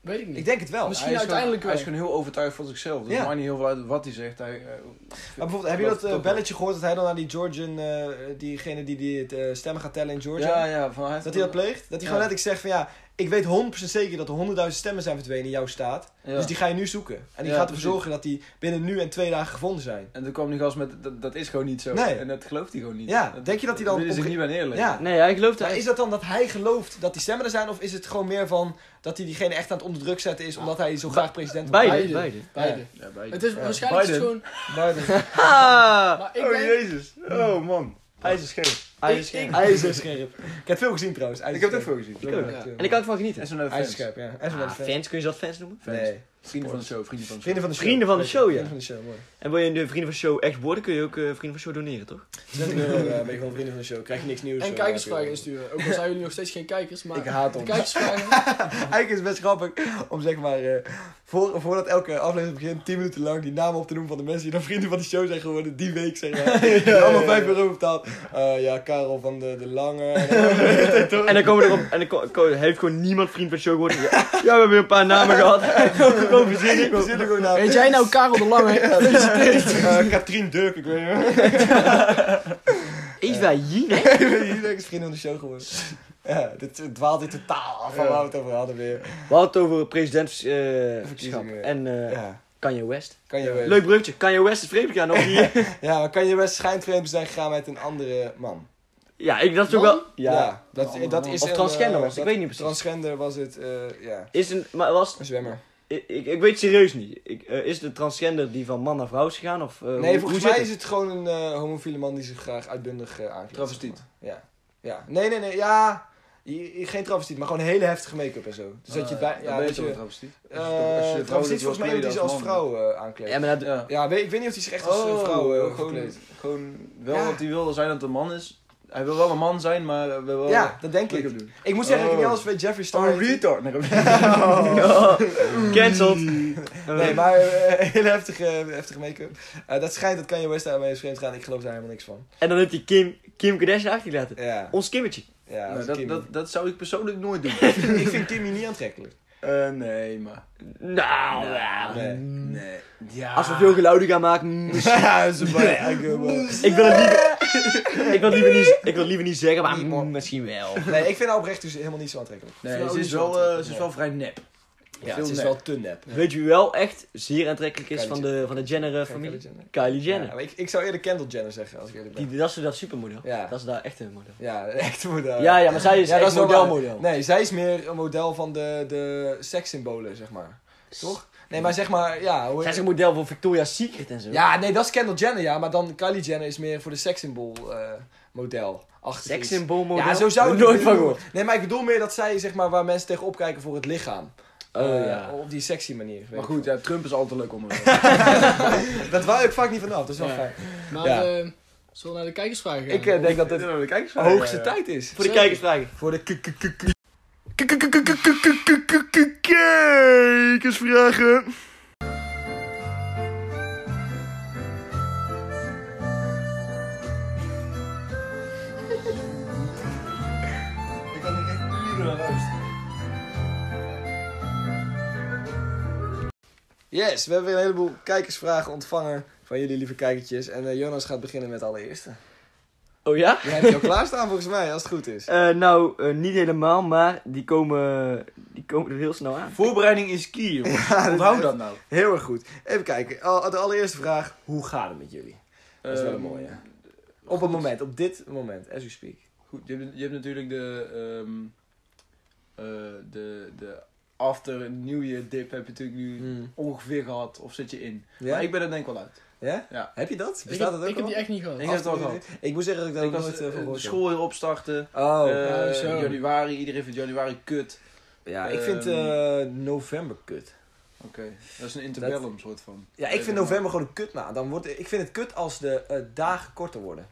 D: Weet ik niet.
B: Ik denk het wel.
D: Misschien-
A: Hij is gewoon-
D: uiteindelijk wel.
A: Hij is gewoon heel overtuigd van zichzelf. Dat
B: Ja.
A: maakt niet heel veel uit wat hij zegt. Hij, eh,
B: Maar bijvoorbeeld, heb je
A: geloof
B: dat eh,
A: het toch
B: belletje gehoord dat hij dan naar die Georgian, eh, diegene die, die het eh, stemmen gaat tellen in Georgia?
A: ja, ja, van, hij heeft
B: Dat hij dat pleegt? Dat hij
A: Ja.
B: gewoon letterlijk zegt van ja, ik weet 100% zeker dat er 100.000 stemmen zijn verdwenen in jouw staat.
A: Ja.
B: Dus die ga je nu zoeken. En die
A: Ja,
B: gaat ervoor
A: precies.
B: zorgen dat die binnen nu en twee dagen gevonden zijn.
A: En toen kwam die gast met, dat, dat is gewoon niet zo.
B: Nee.
A: En dat gelooft hij gewoon niet.
B: Ja,
A: Dat-
B: denk je dat hij dan
A: Wil je zich
B: op-
A: niet bij neerleggen?
B: Ja.
C: Nee, hij gelooft
B: Maar
C: hij.
B: is dat dan dat hij gelooft dat die stemmen er zijn? Of is het gewoon meer van dat hij diegene echt aan het onder druk zetten is omdat hij zo graag president wil
C: Beide.
D: Beide.
C: Beide.
D: Beide.
A: Ja, bij-
D: Het is waarschijnlijk is het
A: Biden.
D: gewoon...
B: worden?
C: Ah!
D: Maar ik denk,
F: jezus. Oh man. IJzerscherp.
C: IJzerscherp.
B: Hij is zo scherp. Ik heb veel gezien trouwens. Hij is
A: Ik heb het ook
B: scherp.
A: veel gezien.
B: Ik ook.
D: Ja.
C: En ik kan ervan genieten.
A: En zo'n
B: Hij is
A: fans.
B: scherp, ja. Hij is wel
C: Ah,
B: een fan.
C: fans, kun je dat fans noemen?
B: Nee.
A: Vrienden van de show, vrienden van de show.
B: Vrienden van de show.
C: Vrienden van de show, ja.
B: Vrienden van de show, mooi.
C: En wil je de vrienden van de show echt worden, kun je ook eh, vrienden van de show doneren, toch?
B: 20 euro eh, ben je gewoon vrienden van de show. Krijg je niks nieuws.
D: En
B: eh, heb
D: kijkersvragen
B: je
D: insturen. Ook al zijn jullie nog steeds geen kijkers, maar...
B: wel. Ik haat
D: de
B: ons.
D: kijkersvragen...
B: Eigenlijk is het best grappig om zeg maar, eh, voor, voordat elke aflevering begint, 10 minuten lang die namen op te noemen van de mensen die dan vrienden van de show zijn geworden die week, zeg maar. Die allemaal 5 euro betaald. Eh, ja, Karel van de, de Lange.
C: En dan komen er op, en dan ko- ko- heeft gewoon niemand vriend van de show geworden. Ja, ja, we hebben weer een paar namen gehad. Gewoon verzinnen.
B: We zitten gewoon namen.
D: Weet jij nou Karel de Lange?
B: Eh, Katrien Durk, ik weet niet meer.
C: Eet wij hier? hè?
B: Iedereen is vrienden van de show geworden. Ja, dit dwaalt dit totaal af van waar we het over hadden weer.
C: We hadden het over presidentschap
B: Verkiezingen.
C: en eh
B: Ja,
C: Kanye West.
B: kan je wel.
C: Leuk bruggetje. Kanye West is vreemd gegaan op die...
B: Ja, maar kan je best schijnvreemd zijn gegaan met een andere man?
C: Ja, ik, dat is ook wel...
B: Ja, dat, dat is
C: Of
B: een,
C: transgender
B: eh,
C: was, ik
B: dat-
C: weet niet precies.
B: Transgender was het, eh, ja,
C: Is een, maar was,
B: een zwemmer.
C: ik, ik, ik weet serieus niet. Ik, eh, is de transgender die van man naar vrouw is gegaan? Of, eh, hoe-
B: Nee,
C: hoe,
B: volgens
C: zit
B: mij
C: het?
B: is het gewoon een eh, homofiele man die zich graag uitbundig eh aankleedt.
A: Travestiet.
B: zeg maar. Ja. ja. Nee, nee, nee. Ja. Je- je- Geen travestiet, maar gewoon hele heftige make-up en zo. Dus dat je bij. Ja,
A: Ah, ben je
B: dat
A: toch een
B: je.
A: travestiet?
B: eh, travestiet volgens mij iemand die zich als vrouw eh, aankleedt.
C: Ja,
B: Ja,
C: maar dat,
B: weet, ik weet niet of hij zich echt als eh,
A: Oh,
B: vrouw eh,
A: gewoon,
B: gekleed.
A: gewoon wel
B: Ja.
A: dat hij wil zijn dat een man is. Hij wil wel een man zijn, maar hij wil wel...
B: Ja, dat denk
A: make-up
B: ik.
A: doen.
B: Ik moet zeggen, dat ik
A: Oh.
B: niet alles weet. Jeffree Star.
A: Star retard. Nee,
C: Oh, Cancelled.
B: Oh.
A: Oh.
B: Nee, maar eh, hele heftige, heftige make-up. Eh, dat schijnt dat Kanye West daarmee is vreemd gaan. Ik geloof daar helemaal niks van.
C: En dan heeft hij Kim, Kim Kardashian achtergelaten.
B: Ja.
C: Ons Kimmetje.
B: ja
A: Nou,
B: als
A: dat,
B: Kimmy.
A: dat, dat zou ik persoonlijk nooit doen.
B: ik vind Kimmy niet aantrekkelijk.
A: Eh, nee, maar...
C: Nou, ja.
B: Nee.
A: Nee. Ja.
C: als we veel geluiden gaan maken. mm,
B: Ja, ze maar. eh,
C: Ik wil het liever, ik wil het liever, niet, ik wil het liever niet zeggen, maar mm, misschien wel.
B: Nee, ik vind haar oprecht dus helemaal niet zo aantrekkelijk.
A: Nee,
D: Vrouwen
A: ze is,
D: niet zo
A: wel, eh, ze is
B: nee.
A: wel vrij nep.
B: Ja,
A: Veel
B: het is
A: nep.
B: wel te nep.
C: Weet je wie wel echt zeer aantrekkelijk is
B: Kylie
C: van de, van de Jenner-familie?
B: Kylie
C: Kylie
B: Jenner.
C: Jenner.
B: Ja, maar ik, ik zou eerder Kendall Jenner zeggen, als ik eerlijk ben.
C: Die, dat is dat supermodel.
B: Ja.
C: Dat is daar echt een model.
B: Ja, echt model.
C: Ja, ja, maar zij is
B: Ja,
C: echt
B: wel waar.
C: modelmodel.
B: Nee, zij is meer een model van de, de sekssymbolen, zeg maar. Toch? Nee, maar zeg maar, ja. Hoe
C: Zij is een model voor Victoria's Secret en zo.
B: Ja, nee, dat is Kendall Jenner, ja. Maar dan Kylie Jenner is meer voor de sekssymbool eh, model. Achter iets.
C: Sekssymboolmodel.
B: Ja, zo zou
C: ik
B: ik
C: nooit
B: het
C: van
B: bedoelen.
C: gehoord.
B: Nee, maar ik bedoel meer dat zij, zeg maar, waar mensen tegenop kijken voor het lichaam.
C: Oh
B: Eh,
C: ja.
B: Op die sexy manier. weet
A: Maar
B: ik
A: goed, ja, Trump is altijd leuk om. eh,
B: veel. Dat wou ik vaak niet vanaf, dat is wel
D: Ja.
B: fijn.
C: Oh,
D: Maar
B: Ja.
D: eh, zullen we naar de kijkersvragen gaan?
B: Ik eh, denk dat het
A: de kijkers
B: de hoogste tijd is.
C: Voor de kijkersvragen.
B: Voor de k- k- k-
F: Kijkersvragen. Ik kan er echt uren aan luisteren.
B: Yes, we hebben weer een heleboel kijkersvragen ontvangen van jullie lieve kijkertjes. En eh, Jonas gaat beginnen met de allereerste.
C: Oh ja?
B: Die heb je al klaarstaan volgens mij, als het goed is.
C: Eh, nou, eh, niet helemaal, maar die komen, die komen er heel snel aan.
A: Voorbereiding is key, jongens. Onthoud dat nou.
B: Heel erg goed. Even kijken, al, de allereerste vraag. Hoe gaat het met jullie? Dat is wel een
A: Ehm,
B: mooie. Op het moment, op dit moment, as we speak.
A: Goed, je hebt, je hebt natuurlijk de, ehm, eh, de, de after New Year dip heb je natuurlijk nu ongeveer gehad of zit je in.
B: Mm. Ja?
A: Maar ik ben er denk ik wel uit.
B: ja?
A: Ja.
B: Heb je dat?
D: ik
B: Bestaat
D: heb,
B: dat
D: ik
B: ook
D: heb
B: al?
D: die echt niet gehad. Nou,
A: Ik heb het al gehad.
B: Ik moet zeggen dat ik
A: Ik
B: daar
A: was
B: nog nooit eh, van
A: eh, de
B: gehoord heb.
A: school weer opstarten.
B: Oh,
A: Eh,
D: zo.
A: januari, iedereen vindt januari kut.
B: ja, ik vind
A: ehm,
B: eh, november kut.
A: Oké, dat is een interbellum soort van.
B: Ja, ik vind november gewoon een kutmaand. Dan wordt, ik vind het kut als de eh, dagen korter worden.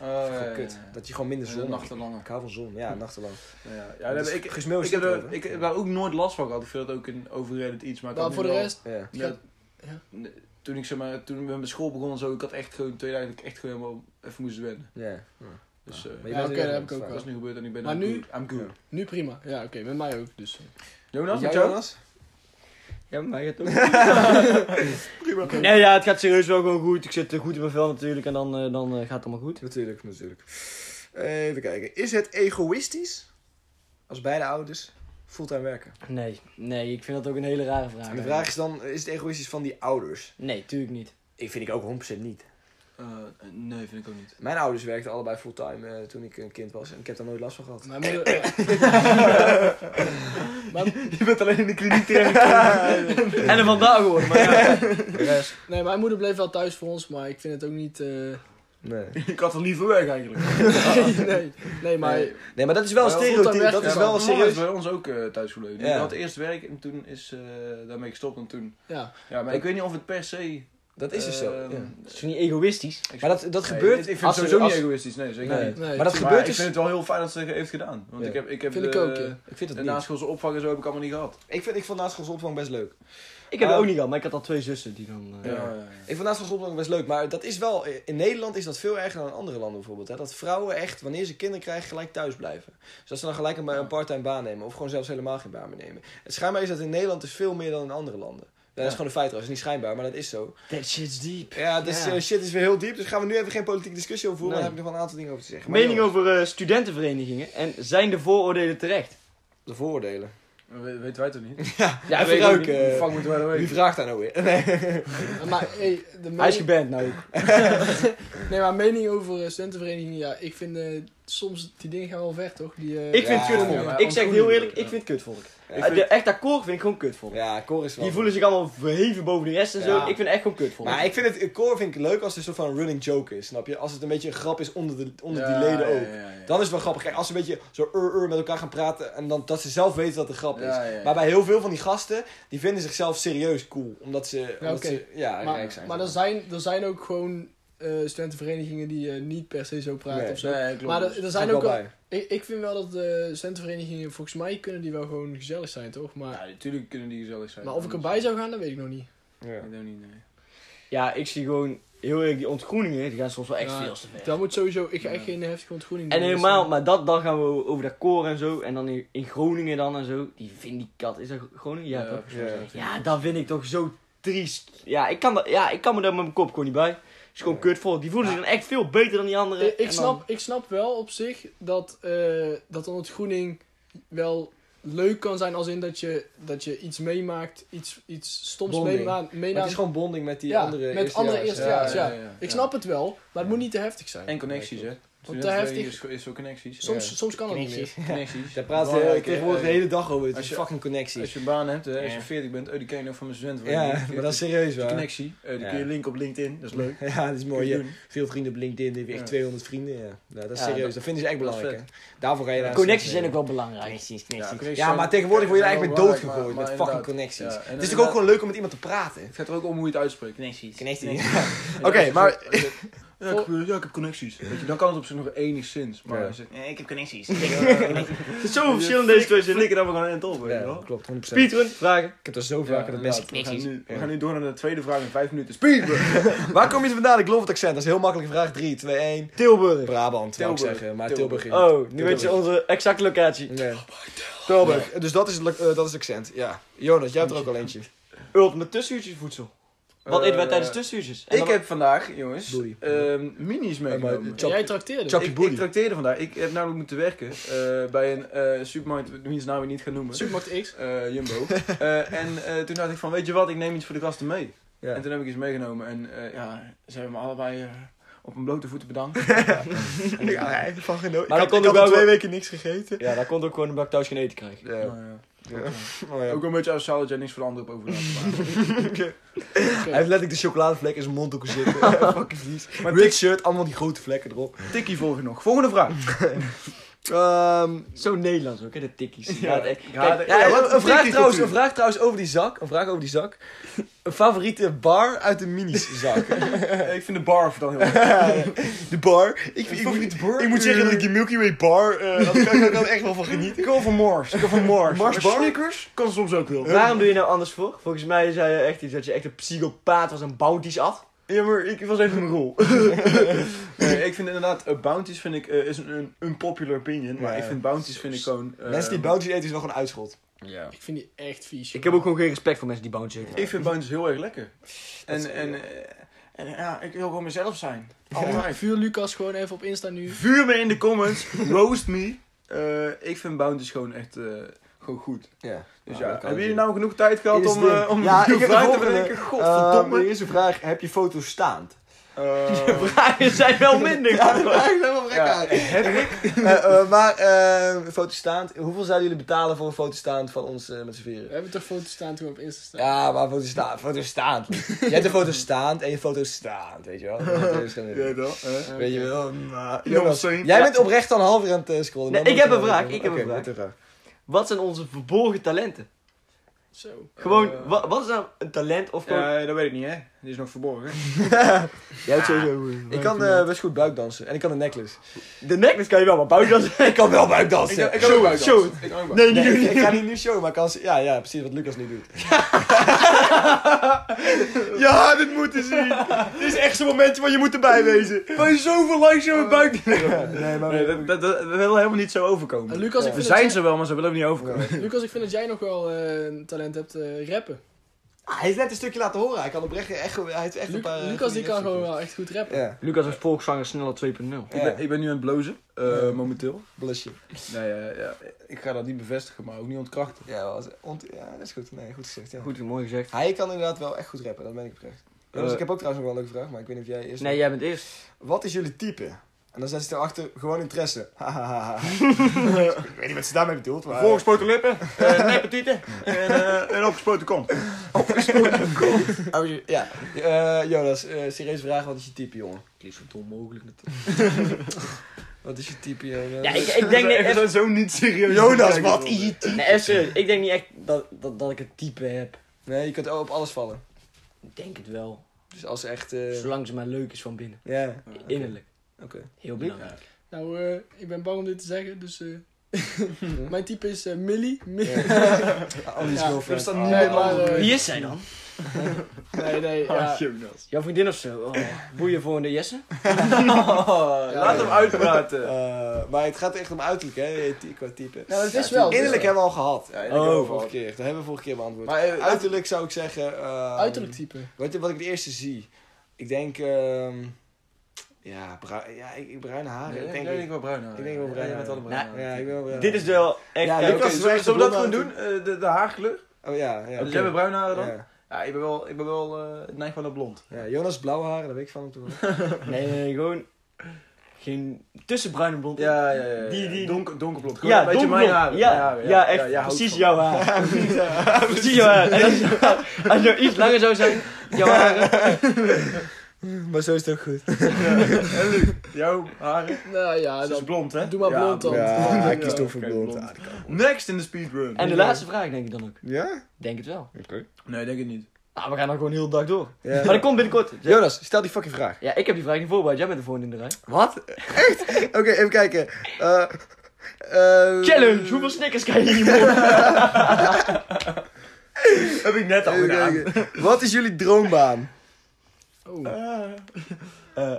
A: Oh,
B: Gewoon kut. Dat je gewoon minder
A: De
B: zon
A: nachten langer.
B: Ik hou van zon, ja, nachtenlang.
A: Ja, ja, daar heb ik, ik,
B: gesmeeuw is
A: heb
B: het
A: er,
B: over.
A: ik heb daar ook nooit last van gehad. Ik vind dat ook een overredend iets. Maar, ik
D: Maar
A: had
D: Nou, voor
A: nu
D: de
A: wel-
D: rest,
B: Ja.
A: Ja,
D: Ja.
A: n- Toen ik zeg maar, toen we met mijn school begonnen en zo, ik had echt gewoon twee dagen dat ik echt gewoon helemaal even moest wennen.
B: Ja.
A: Dus eh,
B: Maar bent
D: Ja, oké,
B: er
D: dat
B: wel
D: heb ik
B: goed
D: ook
B: van.
A: dat is nu gebeurd en ik ben
D: Maar
A: I'm
D: nu-
A: good. I'm good.
D: nu prima. Ja, oké, met mij ook. Dus.
A: Jonas,
B: Jij,
A: met jou?
B: Jonas?
C: Ja, maar het ook. Nee, ja, het gaat serieus wel gewoon goed. Ik zit eh, goed in mijn vel natuurlijk en dan, eh, dan eh, gaat het allemaal goed.
B: Natuurlijk, natuurlijk. Even kijken. Is het egoïstisch als beide ouders fulltime werken?
C: Nee, nee, ik vind dat ook een hele rare vraag.
B: de vraag is dan, is het egoïstisch van die ouders?
C: Nee, tuurlijk niet.
B: Ik vind ik ook 100% niet.
A: Eh, nee, vind ik ook niet.
B: Mijn ouders werkten allebei fulltime eh, toen ik een kind was en ik heb daar nooit last van gehad.
D: Mijn moeder, eh,
C: Je bent alleen in de kliniek terecht. en er vandaag hoor, maar ja. De rest.
D: nee, mijn moeder bleef wel thuis voor ons, maar ik vind het ook niet. eh,
B: Nee.
A: ik had er liever weg eigenlijk.
D: nee, nee, maar
A: Nee.
B: Ah. Nee, maar dat is wel een
D: Maar fulltime
B: stereotype.
D: werken
B: Dat is
D: kan.
B: wel een
A: serieus
B: serieus.
A: bij ons ook eh thuis gebleven. Die
B: Ja.
A: had eerst werk en toen is eh, daarmee gestopt en toen.
D: ja.
A: Ja, maar ik weet niet of het per se.
B: Dat is dus zo.
A: ehm,
B: ja.
C: Dat is niet egoïstisch.
B: Maar dat,
A: nee,
B: dat gebeurt.
A: Ik vind het
B: als-
A: sowieso
B: als-
A: niet egoïstisch, nee, zeker
B: Nee.
A: niet.
D: Nee,
B: Maar dat
A: Maar
B: gebeurt
A: ik
B: dus.
A: vind het wel heel fijn dat ze het heeft gedaan. Want
B: Ja.
A: ik heb, ik heb
D: Vind ik
A: de,
D: ook, ja.
B: Ik vind
A: de
B: het niet.
A: naschoolse opvang en zo heb ik allemaal niet gehad.
B: Ik, vind, ik vond naschoolse opvang best leuk.
C: Ik
B: Eh,
C: heb het ook niet gehad, maar ik had al twee zussen die dan... eh,
A: Ja, ja,
B: Ik vond naast schoolopvang best leuk, maar dat is wel, in Nederland is dat veel erger dan in andere landen bijvoorbeeld. Hè? Dat vrouwen echt, wanneer ze kinderen krijgen, gelijk thuis blijven. Dus dat ze dan gelijk een, een part-time baan nemen of gewoon zelfs helemaal geen baan meer nemen. Het schijnbaar is dat in Nederland dus veel meer dan in andere landen. Ja, dat is
A: Ja.
B: gewoon een feit trouwens, niet schijnbaar, maar dat is zo.
C: That shit's deep.
B: Ja, dus
C: Ja.
B: eh, shit is weer heel diep, dus gaan we nu even geen politieke discussie over voeren,
C: Nee.
B: maar daar heb ik nog wel een aantal dingen over te zeggen. Maar
C: Mening
B: jongens,
C: over eh, studentenverenigingen en zijn de vooroordelen terecht?
B: De vooroordelen.
A: ja. We- Weten wij toch niet?
B: Ja,
C: weet ik ook
B: verbruik.
C: niet.
A: Hoe fuck moeten wij dat
B: wie
A: weten?
B: vraagt daar nou weer? Nee.
D: Maar, hey, de
C: Hij is
D: mening,
C: geband nou ook.
D: nee, maar mening over eh, studentenverenigingen, ja, ik vind eh, soms die dingen gaan wel ver, toch? Die, eh,
C: Ik vind
B: Ja,
C: het kutvolk.
B: ja,
A: maar
C: ik zeg het heel
A: ontgroeien,
C: eerlijk,
A: ja.
C: ik vind het kutvolk.
B: ik
C: Eh, de- Echt akkoord vind ik gewoon kutvolk.
B: Ja, Cor is wel...
C: Die voelen zich allemaal verheven boven de rest en zo.
B: Ja.
C: Ik vind het echt gewoon kutvolk.
B: Maar ik vind het, Cor vind ik leuk als het een soort van running joke is, snap je? Als het een beetje een grap is onder, de, onder
A: Ja,
B: die leden
A: ja,
B: ook.
A: ja, ja.
B: Dan is het wel grappig. Kijk, als ze een beetje zo ur ur met elkaar gaan praten en dan, dat ze zelf weten dat het een grap is.
A: Ja, ja, ja.
B: Maar bij heel veel van die gasten, die vinden zichzelf serieus cool. Omdat ze, ja, omdat
D: oké.
B: ze ja, rijk
D: maar,
B: zijn.
D: maar er, zijn, er zijn ook gewoon eh, studentenverenigingen die eh, niet per se zo praten
B: Nee.
D: of zo.
A: Nee, klopt.
D: Maar er, er
B: Zit
D: zijn
B: wel
D: ook wel,
B: bij.
D: ik, ik vind wel dat de studentenverenigingen, volgens mij kunnen die wel gewoon gezellig zijn, toch? Maar,
A: Ja, natuurlijk kunnen die gezellig zijn.
D: maar of ik erbij zou gaan, dat weet ik nog niet.
B: Ja.
A: Ik denk niet, nee.
C: Ja, ik zie gewoon heel erg die ontgroeningen, die gaan soms wel echt
D: Ja,
C: veel te ver.
D: Dat moet sowieso, ik ga echt geen heftige ontgroening
C: En
D: doen, dus
C: helemaal,
D: dan-
C: maar dat, dan gaan we over dat koor en zo. En dan in, in Groningen dan en zo. Die vind die kat, is dat Groningen? Ja, toch?
B: Ja.
C: Ja, dat vind ik toch zo triest. Ja, ik kan, dat- ja, ik kan me daar met mijn kop gewoon niet bij. Het is gewoon kut volk. Die voelen zich dan echt veel beter dan die anderen.
D: Ik, ik
C: En eh, dan-
D: snap, ik snap wel op zich dat, eh dat een ontgroening wel leuk kan zijn als in dat je, dat je iets meemaakt, iets, iets stoms
B: Bonding.
D: meemaakt.
B: Maar het is gewoon bonding met die
D: Ja,
B: andere
D: met andere
B: eerstejaars.
D: eerstejaars, ja. Ik
A: ja.
D: snap het wel, maar het moet niet te heftig zijn.
A: En connecties, hè?
D: Want te heftig-
A: Is, is zo connecties.
D: soms, soms kan het niet meer.
C: Connecties.
A: Ja. Connecties.
B: Daar praat
A: Belangrijk,
B: je
A: hè.
B: tegenwoordig de
A: Eh,
B: hele dag over. Het
A: als
B: is
A: je-
B: fucking connectie.
A: Als je een baan hebt, hè, als je
C: Ja.
A: 40 bent, oh, die ken je nog van mijn student. worden.
B: Ja, maar dat is serieus
A: een
B: waar.
A: connectie. Eh, die
B: Ja.
A: kun je linken op LinkedIn, dat is leuk.
B: Ja, dat is
A: Kun
B: mooi.
A: je
B: hè.
A: doen.
B: Veel vrienden op LinkedIn, dan heb je echt
A: Ja.
B: 200 vrienden. Ja. Nou, dat is
C: Ja,
B: serieus. Dat,
C: dat-
B: vinden ze echt
A: dat is
B: belangrijk. Hè. Daarvoor ga je naar
C: Connecties zijn ook wel belangrijk. Connecties,
A: Ja,
C: connecties.
A: connecties
B: Ja,
A: zijn-
B: maar tegenwoordig word je er
A: zijn
B: eigenlijk
A: wel
B: mee doodgegooid
A: belangrijk, maar-
B: met
A: maar
B: fucking
A: inderdaad.
B: connecties.
A: Ja, en
B: Het is toch ook
A: inderdaad-
B: gewoon leuk om met iemand te praten?
A: Het gaat er ook om hoe je het uitspreekt.
C: Connecties.
B: Connecties.
A: Ja,
B: Oké,
A: als je
B: maar-
A: zegt, eh, Ja, ik, heb- ja, ik heb connecties. Weet je, dan kan het op zich nog enigszins. Maar
B: Ja.
A: als je zegt,
C: ik heb connecties. Het is zo verschillend deze twee zinnen.
A: flikker dan maar gewoon een top, weet je
B: Ja,
A: wel.
B: klopt, 100%.
C: Pietrun, vragen.
B: Ik heb er zo
A: Ja,
B: vaker dat mensen...
A: inderdaad. we gaan,
C: connecties.
A: nu, we gaan nu door naar de tweede vraag in vijf minuten. Speed!
B: Waar kom je vandaan? Ik geloof het accent. Dat is heel makkelijk. Vraag 3, 2, 1.
C: Tilburg.
B: Brabant, wou ik
A: Tilburg.
B: zeggen. Maar Tilburg.
A: Tilburg.
C: Oh, nu weet je onze exacte locatie.
B: Nee. Tilburg. Dus dat is, het, eh, dat is het accent, ja. Jonas, jij hebt er ook al eentje.
C: Ulp met tussenuurtjesvoedsel. Wat eten wij
A: Eh,
C: tijdens tussenuurtjes? En
A: Ik
C: dan-
A: heb vandaag, jongens,
B: Doei.
A: ehm, minis meegenomen.
B: Chap-
D: Jij trakteerde.
B: Chap-
A: Ik,
B: booty.
A: ik trakteerde vandaag. Ik heb namelijk moeten werken eh, bij een eh, supermarkt, wiens naam ik niet ga noemen.
D: Supermarkt X.
A: Eh, Jumbo. Eh, en eh, toen dacht ik van, weet je wat, ik neem iets voor de gasten mee.
B: Ja.
A: En toen heb ik iets meegenomen en eh, ja, ze hebben me allebei eh, op een blote voeten bedankt.
B: Ja, hij heeft ervan genoten.
C: Maar
B: Ik
C: dan
B: had-
C: kon
B: ik had
C: ook
B: al
C: wel
B: twee
C: weer-
B: weken niks gegeten.
C: Ja, daar komt ook gewoon omdat ik thuis geen eten krijg.
B: Ja.
A: Maar, eh,
B: Oh, ja.
A: Ook wel een beetje asociaal dat jij niks voor de anderen op over laat. Maar,
B: Hij heeft letterlijk de chocoladevlek in zijn mond ook zitten. Fucking vies. Maar Red shirt, allemaal die grote vlekken erop.
A: tikkie volgen nog. Volgende vraag.
B: Ehm,
C: Zo Nederlands ook, hè, de tikkies.
A: Ja,
C: Ja, echt.
A: ja,
C: Kijk,
A: de-
C: ja,
B: ja,
A: wat
B: een,
A: een
B: vraag
A: tikkie
B: trouwens, een
A: cultuur.
B: vraag trouwens over die zak. Een vraag over die zak. Een favoriete bar uit de minis zak.
A: Eh, ik vind de barf dan heel erg.
B: de bar. Ik, ik, moet- ik moet zeggen dat ik die Milky Way bar, eh daar kan ik ook echt wel van genieten.
A: Ik wil van Mars. Ik wil van Mars.
B: Mars
A: Maar
B: bar?
A: Snickers kan soms ook wel.
C: Waarom doe je nou anders voor? Volgens mij zei je echt iets dat je echt een psychopaat was en bounties af.
A: Ja, maar ik was even in mijn rol. Nee, ik vind inderdaad, eh, bounties vind ik, eh, is een, een unpopular opinion, maar
B: Ja.
A: ik vind bounties vind ik gewoon... eh,
B: Mensen die bounties eten is wel gewoon uitschot.
A: Ja.
D: Ik vind die echt vies.
C: Ik heb ook gewoon geen respect voor mensen die bounties eten.
A: Ik vind bounties heel erg lekker. En, en, eh, en ja, ik wil gewoon mezelf zijn.
D: joh.
A: Altijd.
D: Vuur Lucas gewoon even op Insta nu.
A: Vuur me in de comments, roast me. Eh, ik vind bounties gewoon echt eh, gewoon goed.
B: Ja.
A: Dus
B: Ja,
A: ja,
B: dat kan
A: hebben
B: natuurlijk.
A: jullie nou genoeg tijd gehad
B: Dit is
A: om,
B: ding.
A: eh, om
B: Ja,
A: uw
B: ik heb de
A: vraag te
B: volgende.
A: bedenken? Godverdomme.
B: Ehm, er is een vraag, heb je foto's staand?
C: Ehm,
A: Eh,
C: Vragen zijn wel minder.
A: ja,
B: Eh, eh, maar eh, een foto staand. Hoeveel zouden jullie betalen voor een foto staand van ons eh, met z'n
D: We
B: vieren?
D: hebben toch foto's staan toen we op Insta staan.
B: Ja, maar foto staand. Foto staand. Jij hebt een foto staand en je foto staand, weet je wel. Dat is gewoon-
A: Ja, dan, eh.
B: Weet je wel, maar...
A: You know what I'm
B: Jonas,
A: saying?
B: jij bent oprecht al een half uur aan het eh, scrollen.
C: Nee,
B: Dan
C: ik heb
B: moeten we-
C: een vraag, ik heb
B: Oké,
C: een vraag.
B: doe het
C: Wat zijn onze verborgen talenten?
D: Zo.
C: Gewoon,
A: Eh.
C: wa- wat is nou een talent of gewoon...
A: Ja, dat weet ik niet, hè. Die is nog verborgen.
B: Jij hebt sowieso... Ik kan eh, best goed buikdansen. En ik kan een necklace.
C: De necklace kan je wel, maar buitenlands...
B: Ik kan wel buikdansen.
A: Ik kan ook wel
C: show
A: dansen. Ik kan ook wel.
C: Nee,
B: Nee,
C: nee,
B: ik, ik ga niet nu showen, maar ik kan... Ja, ja, precies wat Lucas nu doet.
C: Ja, dit moeten zien. dit is echt zo'n momentje waar je moet erbij wezen. Oh.
A: Bij zoveel likes in mijn buik.
B: Nee, maar...
A: Nee, dat, dat, dat wil helemaal niet zo overkomen.
D: En Eh, Lucas, ik
A: We
D: vind
A: zijn
D: dat
A: ze wel, maar ze willen niet overkomen.
D: jij- Lucas, ik vind dat jij nog wel eh, een talent hebt eh, rappen.
B: Ah, hij is net een stukje laten horen. Hij kan oprecht echt... Hij heeft echt
D: Lu-
B: een paar... eh,
D: Lucas die
B: goede
D: kan gewoon
B: rapstukken.
D: wel echt goed rappen.
B: Ja,
C: Lucas is volkszanger sneller 2.0.
A: Ik, ben, ik ben nu aan het blozen, eh,
B: Ja.
A: momenteel.
B: blusje.
A: Nee, eh, ja, ik ga dat niet bevestigen, maar ook niet ontkrachten.
B: Ja, wel, als- ont- ja, dat is goed. Nee, goed gezegd. Ja.
C: Goed, mooi gezegd.
B: Hij kan inderdaad wel echt goed rappen, dat ben ik oprecht. Jonas,
C: Eh,
B: ik heb ook trouwens nog wel een leuke vraag, maar ik weet niet of jij eerst...
C: Nee, jij bent eerst.
B: Wat is jullie type? En dan zet ze erachter gewoon interesse. Hahaha. ik weet niet wat ze daarmee bedoelt, maar...
A: Volgespoten lippen
C: Uh, Nepetieten.
A: en, eh, en opgespoten kont.
B: Oh, je- ja. Eh, Jonas, eh serieus vraag, wat is je type, jongen?
C: Kies zo dom mogelijk
B: Wat is je type, jongen?
C: Ja, ik, ik denk niet echt...
A: zo niet serieus.
B: Jonas, wat is je type?
C: Nee, echt serieus. Ik denk niet echt dat, dat, dat ik het type heb.
B: Nee, je kunt ook op alles vallen.
C: Ik denk het wel.
B: Dus als echt... eh,
C: Zolang ze maar leuk is van binnen.
B: Ja,
C: Innerlijk.
B: oké.
C: Heel belangrijk.
D: Nou, eh, ik ben bang om dit te zeggen, dus... eh, Mijn type is eh, Millie. Mi-
B: Anders
D: Ja,
B: girlfriend.
A: staat
B: Ah.
D: Nee, maar, eh,
C: Wie is zij dan?
D: nee, nee, ja.
A: Ah, Jonas.
C: Jouw vriendin of zo? Oh, boeien voor de Jesse?
A: Laat hem uitpraten.
B: Eh, maar het gaat echt om uiterlijk, hè? je ty- Qua type.
D: Nou, dat is wel.
B: Innerlijk hebben we al gehad.
A: Ja,
B: oh,
A: innerlijk hebben we al
B: vorige
A: gehad.
B: keer. Dat hebben we vorige keer beantwoord.
A: Maar, eh,
B: uiterlijk zou ik zeggen... ehm,
D: Uiterlijk type.
B: Wat, wat ik het eerste zie. Ik denk... ehm, Ja, bruin, ja ik, ik- bruine haren.
A: Nee,
B: Ah, ik denk,
A: ik
B: ik,
A: wel bruin haar.
B: ik denk wel
A: Ja,
B: bruin.
A: jij bent wel een bruin
B: haar.
A: haar.
B: Ja, ik ben wel bruin.
C: Dit is wel echt...
B: Ja,
C: Ja,
B: dit
A: Oké,
B: was-
A: zullen we- zullen we dat gewoon
B: blond
A: doen? Eh, de, de haarkleur?
B: Oh ja, ja.
A: Dus jij bent bruin haar dan? Ja,
B: Ja.
A: ik ben wel, ik ben wel eh neig wel naar blond.
B: Ja, Jonas blauwe haren, daar weet ik van hem toen.
C: Nee, nee, nee, gewoon... Geen tussenbruin en blond.
A: Ja, ja, ja. ja.
C: Die- die-
A: Donker, donkerblond. Gewoon
C: Ja,
A: een beetje
C: donkerblond.
A: mijn haar.
C: Ja, ja, echt
A: jij houdt
C: precies
A: van-
C: jouw haar. precies jouw haar. En als, je- als je iets langer zou zijn, jouw haar.
B: maar zo is het ook goed.
A: En Luc, jouw haren?
D: Nou ja,
A: Dat is
D: dan
A: blond, hè?
D: doe maar
A: Ja,
D: blond dan.
B: Ja, ik kies toch voor
A: oké,
B: blond.
A: blond.
B: Ah, dat kan.
A: Next in de speedrun.
C: En de laatste vraag denk ik dan ook.
B: Ja?
C: Denk het wel.
B: Oké.
A: Nee, denk ik niet.
C: Nou, we gaan dan gewoon heel de dag door.
B: Ja.
C: Maar dat komt binnenkort.
B: Jonas, stel die fucking vraag.
C: Ja, ik heb die vraag niet voorbereid. Jij bent de volgende in de rij.
B: Wat? Echt? Oké, even kijken. Eh, eh,
C: Challenge! Hoeveel snickers kan je in je mond?
A: Heb ik net al
B: even
A: gedaan.
B: kijken. Wat is jullie droombaan?
D: Oh.
A: Eh,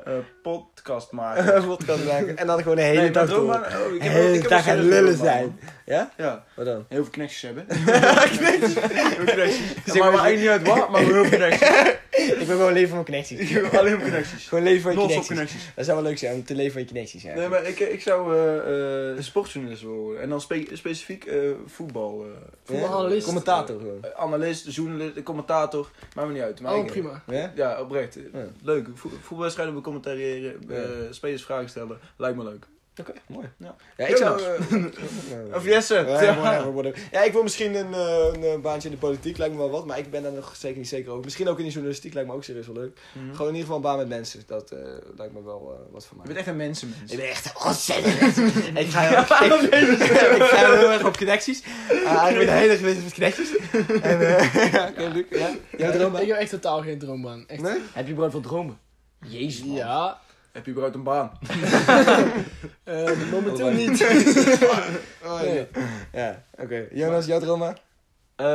A: podcast maken.
B: Wat kan maken? En dan gewoon de hele
A: Nee, maar
B: dag door.
A: droomman- oh, ik
B: De
A: heb wel- ik
B: hele
A: heb
B: dag
A: wel
B: gaan
A: serieus
B: lullen
A: droomman.
B: zijn.
A: Ja,
B: Wat dan?
A: heel veel connecties hebben.
B: Heel connecties.
A: Ja, maar maar eigenlijk niet uit waar, maar heel veel connecties.
B: Ik wil gewoon leven van connecties.
A: Alleen maar connecties.
B: Gewoon leven van je
A: Non-stop
B: connecties.
A: connecties.
B: Dat zou wel leuk zijn, om te leven van je connecties. Ja.
A: Nee, maar ik, ik zou eh, eh, sportjournalist willen worden. En dan spe- specifiek eh, voetbal. eh,
D: voetbalanalist.
B: Commentator gewoon.
A: eh, analist, journalist, commentator. Maakt me niet uit. Maar
D: Oh,
A: ik-
D: prima.
B: Ja?
A: Ja, oprecht.
B: Ja.
A: Leuk. Vo- voetbalwedstrijden becommentariëren, eh spelers vragen stellen. Lijkt me leuk.
B: Oké, mooi.
A: Ja.
B: Ja, ik zou... eh,
A: Of Jesse.
B: Ja,
A: Ja.
B: whatever, whatever. ja, ik wil misschien een, eh, een eh, baantje in de politiek, lijkt me wel wat, maar ik ben daar nog zeker niet zeker over. Misschien ook in de journalistiek, lijkt me ook serieus wel leuk.
A: Mhm.
B: Gewoon in ieder geval een baan met mensen, dat eh, lijkt me wel eh, wat voor mij.
A: Je bent echt een mensenmens.
B: Ik ben echt een ontzettend mens. ik ga heel, ik, ik ga heel erg op connecties. Eh, ik ben de hele geweest met connecties. En, eh, Oké, Luc, ja? Jouw droombaan?
D: Ik heb echt totaal geen droombaan. Echt.
B: Nee?
C: Heb je brood van dromen? Jezus man.
D: Ja,
A: Heb je überhaupt een baan?
D: eh, momenteel niet.
B: Oh,
D: Nee.
B: nee. Ja, oké. Jonas, jouw droombaan?
C: Eh,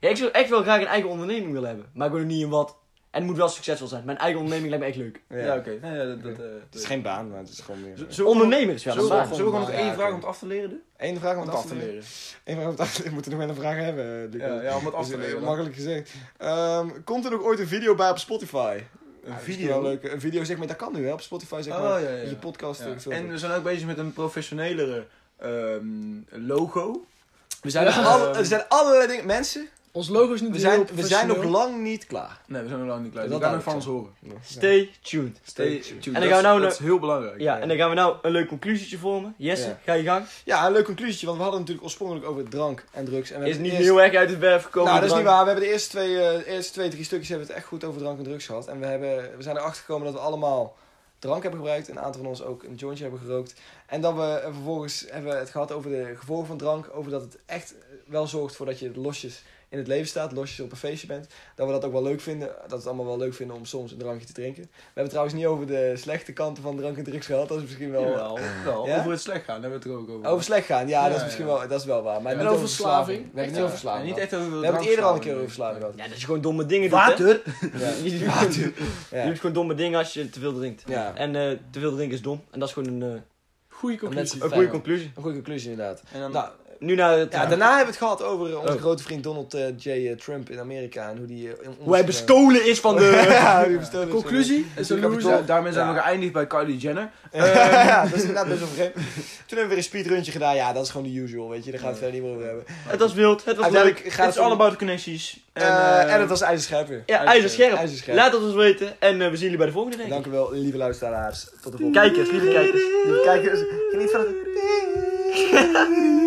C: ja, ik zou echt wel graag een eigen onderneming willen hebben. Maar ik weet nog niet in wat. En het moet wel succesvol zijn. Mijn eigen onderneming lijkt me echt leuk.
B: Ja.
A: Ja, oké. Nee, ja, dat, dat, eh,
B: Het is geen baan, maar het is gewoon meer... eh,
A: Zullen we-
C: Ondernemer is wel
A: Zullen
C: een
A: we,
C: baan.
A: zullen we gewoon nog
B: Ja,
A: één
B: oké.
A: vraag om het af te leren? doen?
B: Eén vraag om
A: Om
B: het af te leren. Eén vraag om het af te leren. We moeten nog wel een vraag hebben, eh, Lucas.
A: Ja, ja, om het af
B: Dat
A: te
B: is, eh,
A: leren.
B: Makkelijk gezegd. Ehm, komt er nog ooit een video bij op Spotify?
A: Een
B: Ja,
A: video?
B: is wel leuk. Een video zeg maar, dat kan nu hè, op Spotify zeg
A: Oh,
B: maar.
A: ja, ja,
B: dat Je
A: ja.
B: podcast
A: Ja.
B: eh, filmt.
A: En we zijn ook bezig met een professionelere ehm, logo.
B: we zijn,
D: Ja.
B: nog alle, er zijn allerlei dingen. Mensen,
D: Ons logo is niet
B: we
D: heel
B: zijn, we zijn nog
D: professioneel.
B: lang niet klaar.
A: Nee, we zijn nog lang niet klaar.
B: Dat
A: We gaan nog
B: duidelijk
A: van
B: zo.
A: ons horen.
C: Stay tuned.
A: Stay tuned.
C: En dan gaan we nou
A: dat is heel belangrijk.
C: Ja, en dan gaan we nou een leuk conclusietje vormen. Jesse,
B: Ja.
C: ga je gang.
B: Ja, een leuk conclusietje, want we hadden het natuurlijk oorspronkelijk over drank en drugs. En we
C: Is
B: hebben
C: niet
B: eerst-
C: heel erg uit het werf gekomen.
B: Nou, dat is niet
C: drank.
B: waar. We hebben de eerste twee, eh, de eerste twee drie stukjes hebben we het echt goed over drank en drugs gehad. En we, hebben, we zijn erachter gekomen dat we allemaal drank hebben gebruikt. Een aantal van ons ook een jointje hebben gerookt. En dan we eh, vervolgens hebben we het gehad over de gevolgen van drank. Over dat het echt eh, wel zorgt voor dat je losjes in het leven staat. Losjes op een feestje bent. Dat we dat ook wel leuk vinden. Dat we het allemaal wel leuk vinden om soms een drankje te drinken. We hebben het trouwens niet over de slechte kanten van drank en drugs gehad. Dat is misschien wel...
A: Jawel, wel.
B: Ja?
A: Over het slecht gaan, daar hebben we het er ook over.
B: Over slecht gaan, ja, dat is
A: Ja,
B: misschien
A: ja.
B: Wel, dat is wel waar. Maar
D: En
B: niet
D: over
B: verslaving.
D: verslaving.
B: We hebben het niet over verslaving.
A: En niet
B: gehad.
A: echt over
B: We hebben het eerder al een keer over verslaving gehad.
C: Ja, dat je gewoon domme dingen doet.
A: Water?
C: hè. Je, doet-
B: Ja.
C: je doet gewoon domme dingen als je te veel drinkt.
B: Ja.
C: En eh, te veel drinken is dom. En dat is gewoon een, eh,
D: Goeie conclusie.
C: een goede conclusie.
B: Een goede conclusie inderdaad.
A: En dan,
B: Nou,
C: Nu naar het...
B: ja, daarna hebben we het gehad over eh, onze
C: Oh.
B: grote vriend Donald eh, J. eh, Trump in Amerika. En hoe die... eh, in ons,
C: Hoe hij
B: eh,
C: bestolen is van de...
B: ja, hoe die bestolen is van-
D: Conclusie? Is een
A: Natuurlijk
D: loser.
A: hebben we- daarmee zijn we
B: Ja.
A: geëindigd bij Kylie Jenner.
B: Eh, ja, dat is inderdaad best wel vreemd. Toen hebben we weer een speedruntje gedaan. Ja, dat is gewoon de usual, weet je. Daar gaan we het verder niet meer over hebben.
C: het was wild, het was leuk.
B: Uiteindelijk gaat
A: Het is all
B: om-
A: about the connecties.
B: eh,
A: eh,
B: en het was ijzerscherp weer.
C: Ja, ijzerscherp.
B: Ijzerscherp.
C: Laat het ons weten. En eh, we zien jullie bij de volgende denk ik.
B: Dank u wel, lieve luisteraars. Tot de volgende.
C: Kijkers, lieve kijkers.
B: Lieve kijkers, geniet van het...